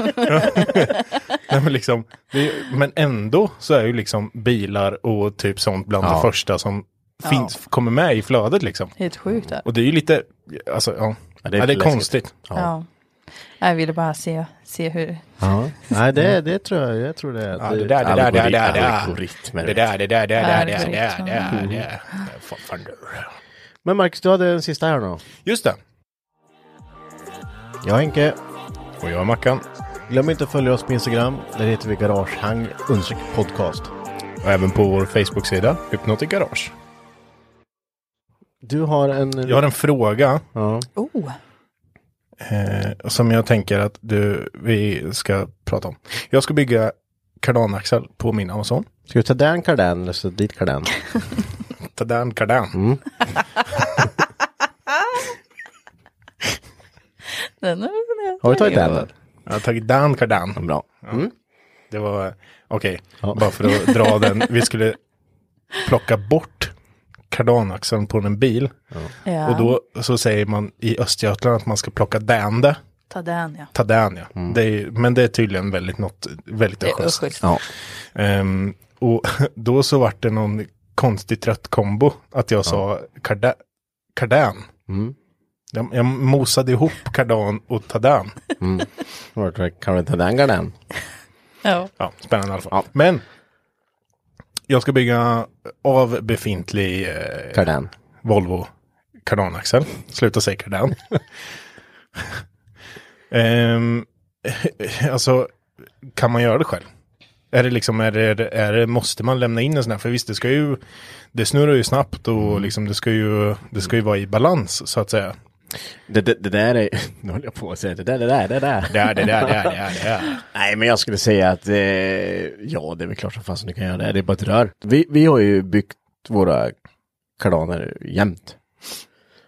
E: Nej, men, liksom, det är, men ändå så är ju liksom bilar och typ sånt bland det första som finns, kommer med i flödet liksom.
B: Helt sjukt. där.
E: Och det är ju lite, alltså ja, ja det är,
A: läskigt.
E: konstigt.
B: Ja. Jag ville bara se, se hur...
A: ja. Nej, det, det tror jag. Jag tror det.
E: Ja, det där, det där, det där, det där, det där.
A: Algoritmer.
E: Det där, det där, det där, det där, det där,
B: Algoritmer.
E: det där, det där. Mm. Fan, fan, du.
A: Men Marcus, du hade en sista här nu.
E: Just det.
A: Jag Henke.
E: Och jag är Mackan.
A: Glöm inte att följa oss på Instagram. Där heter vi Garagehang understreck podcast.
E: Och även på vår Facebook-sida, Hypnotic Garage.
A: Du har en...
E: Jag har en fråga
A: Ja.
B: Oh,
E: eh, som jag tänker att du, vi ska prata om. Jag ska bygga kardanaxel på min Amazon.
A: Ska du ta den kardan eller så dit kardan?
E: Tadan kardan.
B: den är...
A: Har du tagit den?
E: Jag har tagit Dan Kardan.
A: Bra. Mm.
E: Det var, okej,
A: Ja.
E: bara för att dra den. Vi skulle plocka bort kardanaxeln på en bil.
B: Ja,
E: Och då så säger man i Östergötland att man ska plocka Dan det.
B: Ta den ja.
E: Ta Dan ja. Det är, ju- men det är tydligen väldigt något, väldigt
B: Det är
E: östgötskt.
B: östgötskt.
A: Ja.
E: Ehm, och då så vart det någon konstig trött kombo att jag sa karda, kardan. Jag, jag mosade ihop kardan och tadan.
A: Vart Kan du ta den kardan?
B: Ja.
E: Ja, spännande i alla fall. Men jag ska bygga av befintlig eh,
A: Kardan.
E: Volvo kardanaxel. Sluta säga kardan. Ehm, alltså, kan man göra det själv? Är det liksom, är det, är det, måste man lämna in en sån här? För visst, det ska ju, det snurrar ju snabbt och liksom det ska ju, det ska ju vara i balans så att säga.
A: Det, det, det där är... Nu håller jag på att säga det där, det där, det där.
E: Där, det där, där, där, där.
A: Nej, men jag skulle säga att eh, ja, det är väl klart som fasen du kan göra det. Det är bara ett rör. Vi, vi har ju byggt våra kardaner jämt.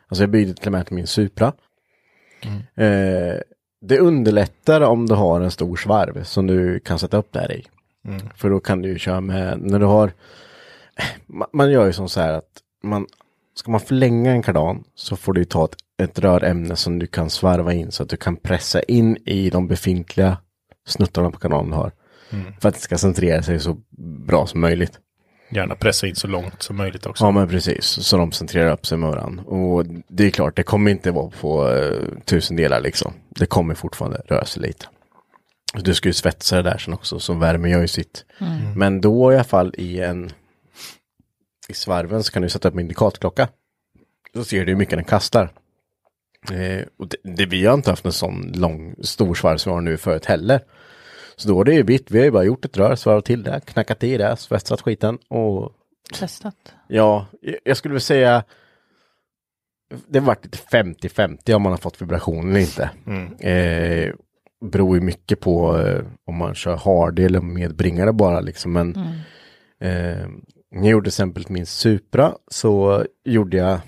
A: Alltså jag byggde till och med till min Supra. Eh, det underlättar om du har en stor svarv som du kan sätta upp där i. För då kan du ju köra med, när du har, man, man gör ju som så här att man, ska man förlänga en kardan så får du ju ta ett, ett rörämne som du kan svarva in så att du kan pressa in i de befintliga snuttarna på kardan du har. För att det ska centrera sig så bra som möjligt.
E: Gärna pressa in så långt som möjligt också.
A: Ja men precis, så de centrerar upp sig med varandra. Och det är klart, det kommer inte vara på eh, tusen delar liksom. Det kommer fortfarande röra sig lite. Du ska ju svetsa det där sen också, så värmer gör ju sitt. Men då i alla fall i en... I svarven så kan du sätta upp en indikatklocka. Då ser du hur mycket den kastar. Eh, och det, det, vi har inte haft en sån lång, stor svarv som vi har nu förut heller. Så då är det ju vitt, vi har ju bara gjort ett rör, svarvat till det, knackat i det, svetsat skiten och
B: Testat.
A: Ja, jag- jag skulle väl säga det har varit lite 50-50 om man har fått vibration eller inte. Eh, beror ju mycket på eh, om man kör hard eller medbringare bara liksom. Men
B: Mm.
A: eh, när jag gjorde till exempel min Supra så gjorde jag,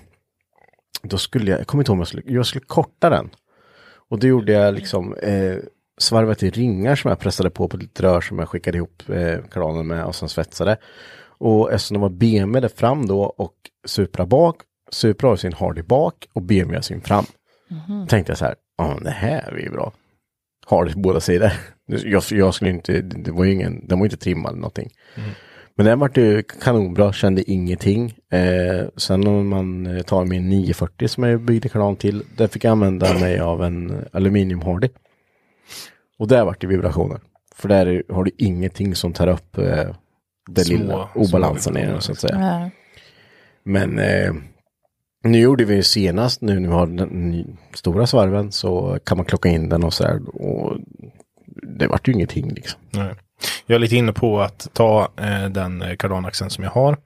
A: då skulle jag, jag kommer inte ihåg om jag skulle, jag skulle korta den. Och då gjorde jag liksom eh, svarvat i ringar som jag pressade på på ett rör som jag skickade ihop eh, kardanen med och sen svetsade. Och eftersom de var BMW där fram då och Supra bak, Supra har sin Hardy bak och BMW har sin fram. Tänkte jag så här, ja det här blir ju bra. Hardy på båda sidor. Jag, jag skulle inte, det det var ju ingen, den var ju inte trimmad eller någonting.
E: Mm.
A: Men den vart ju kanonbra, kände ingenting. Eh, sen om man eh, tar min 940 som jag byggde kanal till, där fick jag använda mig av en aluminium Hardy. Och där vart det vibrationer. För där är- har du ingenting som tar upp eh, den
E: Små-
A: lilla
E: små
A: obalansen i den
E: vibrationer,
A: så att säga.
B: Ja.
A: Men eh, nu gjorde vi ju senast, nu när vi har den ny- stora svarven så kan man klocka in den och så här. Och det vart ju ingenting liksom.
E: Nej. Jag är lite inne på att ta eh, den eh, kardanaxeln som jag har,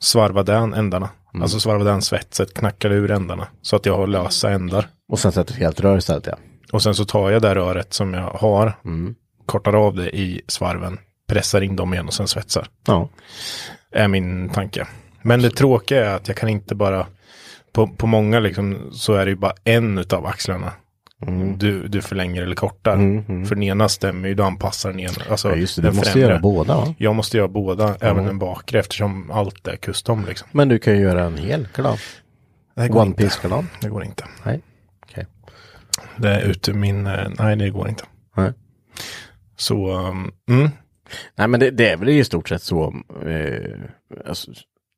E: svarva den ändarna.
A: Mm.
E: Alltså svarva den svetset, knacka ur ändarna så att jag har lösa ändar.
A: Och sen sätter ett helt rör istället ja.
E: Och sen så tar jag det röret som jag har,
A: Mm.
E: kortar av det i svarven, pressar in dem igen och sen svetsar.
A: Ja,
E: Är min tanke. Men det tråkiga är att jag kan inte bara, på, på många liksom, så är det ju bara en av axlarna.
A: Mm.
E: Du, du förlänger eller kortar. För den ena stämmer ju, du anpassar den ena. Alltså,
A: ja just det, du
E: den
A: måste
E: främre.
A: göra båda va?
E: Jag måste göra båda, även den bakre, eftersom allt är custom liksom.
A: Men du kan ju göra en hel kalan.
E: Det här går
A: One
E: inte.
A: piece kalan.
E: Det går inte.
A: Nej. Okej.
E: Det är ute min, eh, nej det går inte.
A: Nej.
E: Så, um, mm,
A: Nej men det, det är väl i stort sett så. Eh, alltså,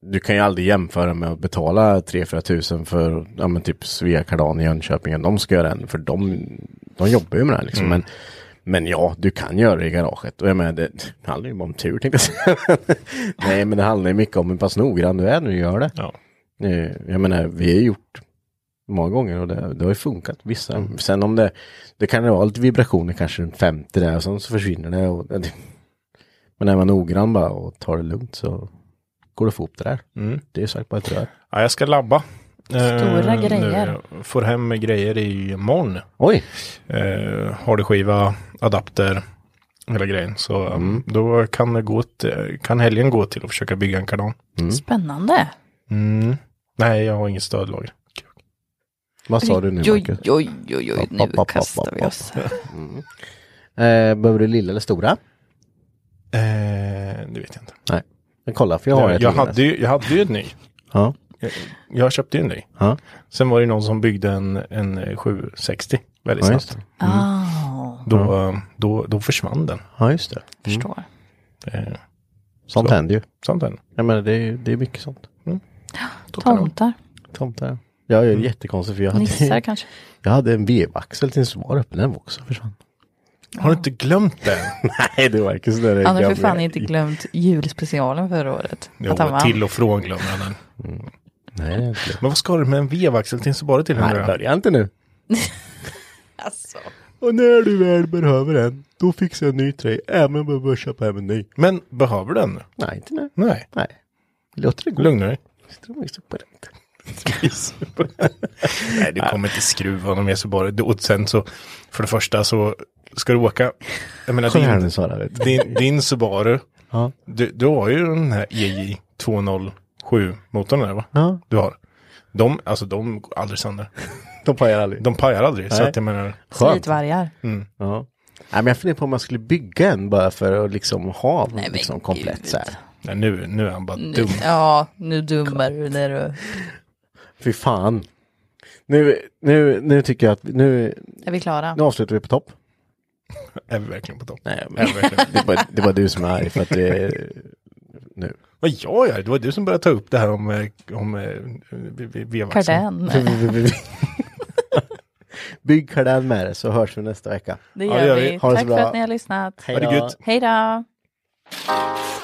A: du kan ju aldrig jämföra med att betala 3-4 tusen för ja, men typ Svea Kardan i Jönköping. De ska göra en för de, de jobbar ju med det här liksom. Men, men ja, du kan göra det i garaget. Och jag menar, det, det handlar ju bara om tur tänkte jag säga. Nej men det handlar ju mycket om hur pass noggrann du är när du gör det.
E: ja.
A: Eh, Jag menar, vi har gjort många gånger och det, det har ju funkat. Vissa. Sen om det, det kan ju vara lite vibrationer kanske runt 50 där och sen så försvinner det. Och, det men är man noggrann bara och tar det lugnt så går det att få ihop det där. Det är sagt bara ett rör.
E: ja, jag ska labba. Eh,
B: Stora grejer.
E: Nu. Får hem grejer imorgon.
A: Oj!
E: Eh, har du skiva, adapter, hela grejen. Så um,
A: Mm.
E: då kan, det gå till, kan helgen gå till att försöka bygga en kardan.
B: Spännande.
E: Mm. Nej, jag har inget stödlager.
A: Vad sa du nu
B: Oj,
A: Marcus?
B: oj, oj, oj,
A: Hopp,
B: nu
A: hopp, hopp,
B: kastar
A: hopp,
B: vi
A: hopp.
B: oss.
A: Eh, behöver du lilla eller stora?
E: Eh, det vet jag inte.
A: Nej. Men kolla, för jag har ett
E: jag,
A: liggande.
E: hade ju, jag hade ju en ny.
A: Ja.
E: Jag, jag köpte ju en ny.
A: Ja.
E: Sen var det någon som byggde en, en eh, 760 väldigt
A: Ja, just
E: snabbt.
B: Ah,
E: Då, eh, då, då försvann den.
A: ja, just det.
B: förstår.
A: Mm.
E: Eh,
A: Sånt
E: Så.
A: händer ju.
E: sånt den.
A: Jag menar, det, är- det är mycket sånt.
B: Tomtar,
A: Tomtar. Ja, jag är jättekonstig för jag
B: nissar
A: hade,
B: kanske.
A: jag hade en vevaxel till en svar uppe, den var också försvann.
E: Har du inte glömt den?
A: Nej, det verkar sådär.
B: Han har för fan inte glömt julspecialen förra året.
E: jo,
B: att han vann.
E: till och från glömmer jag den.
A: Nej, det är inte.
E: Men vad ska du med en vevaxel till en Subaru till?
A: Nej,
E: undrar jag?
A: börja inte nu.
B: Alltså,
A: Och när du väl behöver en, då fixar jag en ny till dig. Även om jag behöver köpa hem en ny.
E: Men behöver du den? nu?
A: Nej, inte nu.
E: Nej.
A: Nej. Låter det gå?
E: Lugna dig.
A: Sitter de liksom på rätt?
E: Nej, du kommer inte skruva någon mer Subaru. Du- Och sen så, för det första så ska du åka. Jag menar,
A: Kolla här
E: din,
A: nu Sara, vet du.
E: din, din Subaru,
A: Ja.
E: du, du har ju den här EJ 207 motorn där va?
A: Ja.
E: Du har.
D: De, alltså de går aldrig sönder.
A: De pajar aldrig.
D: De pajar aldrig. Så
A: Nej.
D: att jag menar,
A: Skönt.
B: Slitvargar.
A: Ja. Nej, men jag funderar på om jag skulle bygga en bara för att liksom ha
B: men
A: liksom komplett
B: gud.
A: så här.
D: nej, nu, nu är han bara
B: Nu,
D: dum.
B: ja, nu dummar du när du...
A: Fy fan. Nu, nu, nu tycker jag att nu,
B: Är vi klara?
A: nu avslutar vi på topp.
D: Är vi verkligen på topp?
A: Nej, men
D: Är vi verkligen på topp?
A: det, var, det var du som är arg för att det,
D: Vad gör jag? Det var du som började ta upp det här om, eh, om eh, vi- vi- vevaxeln.
B: Kardän.
A: Bygg kardan med det så hörs vi nästa vecka.
B: Det
D: Ja,
B: gör vi.
A: Ha det så
B: Tack för
A: bra.
B: att ni har lyssnat.
D: Ha det gött.
B: Hej då!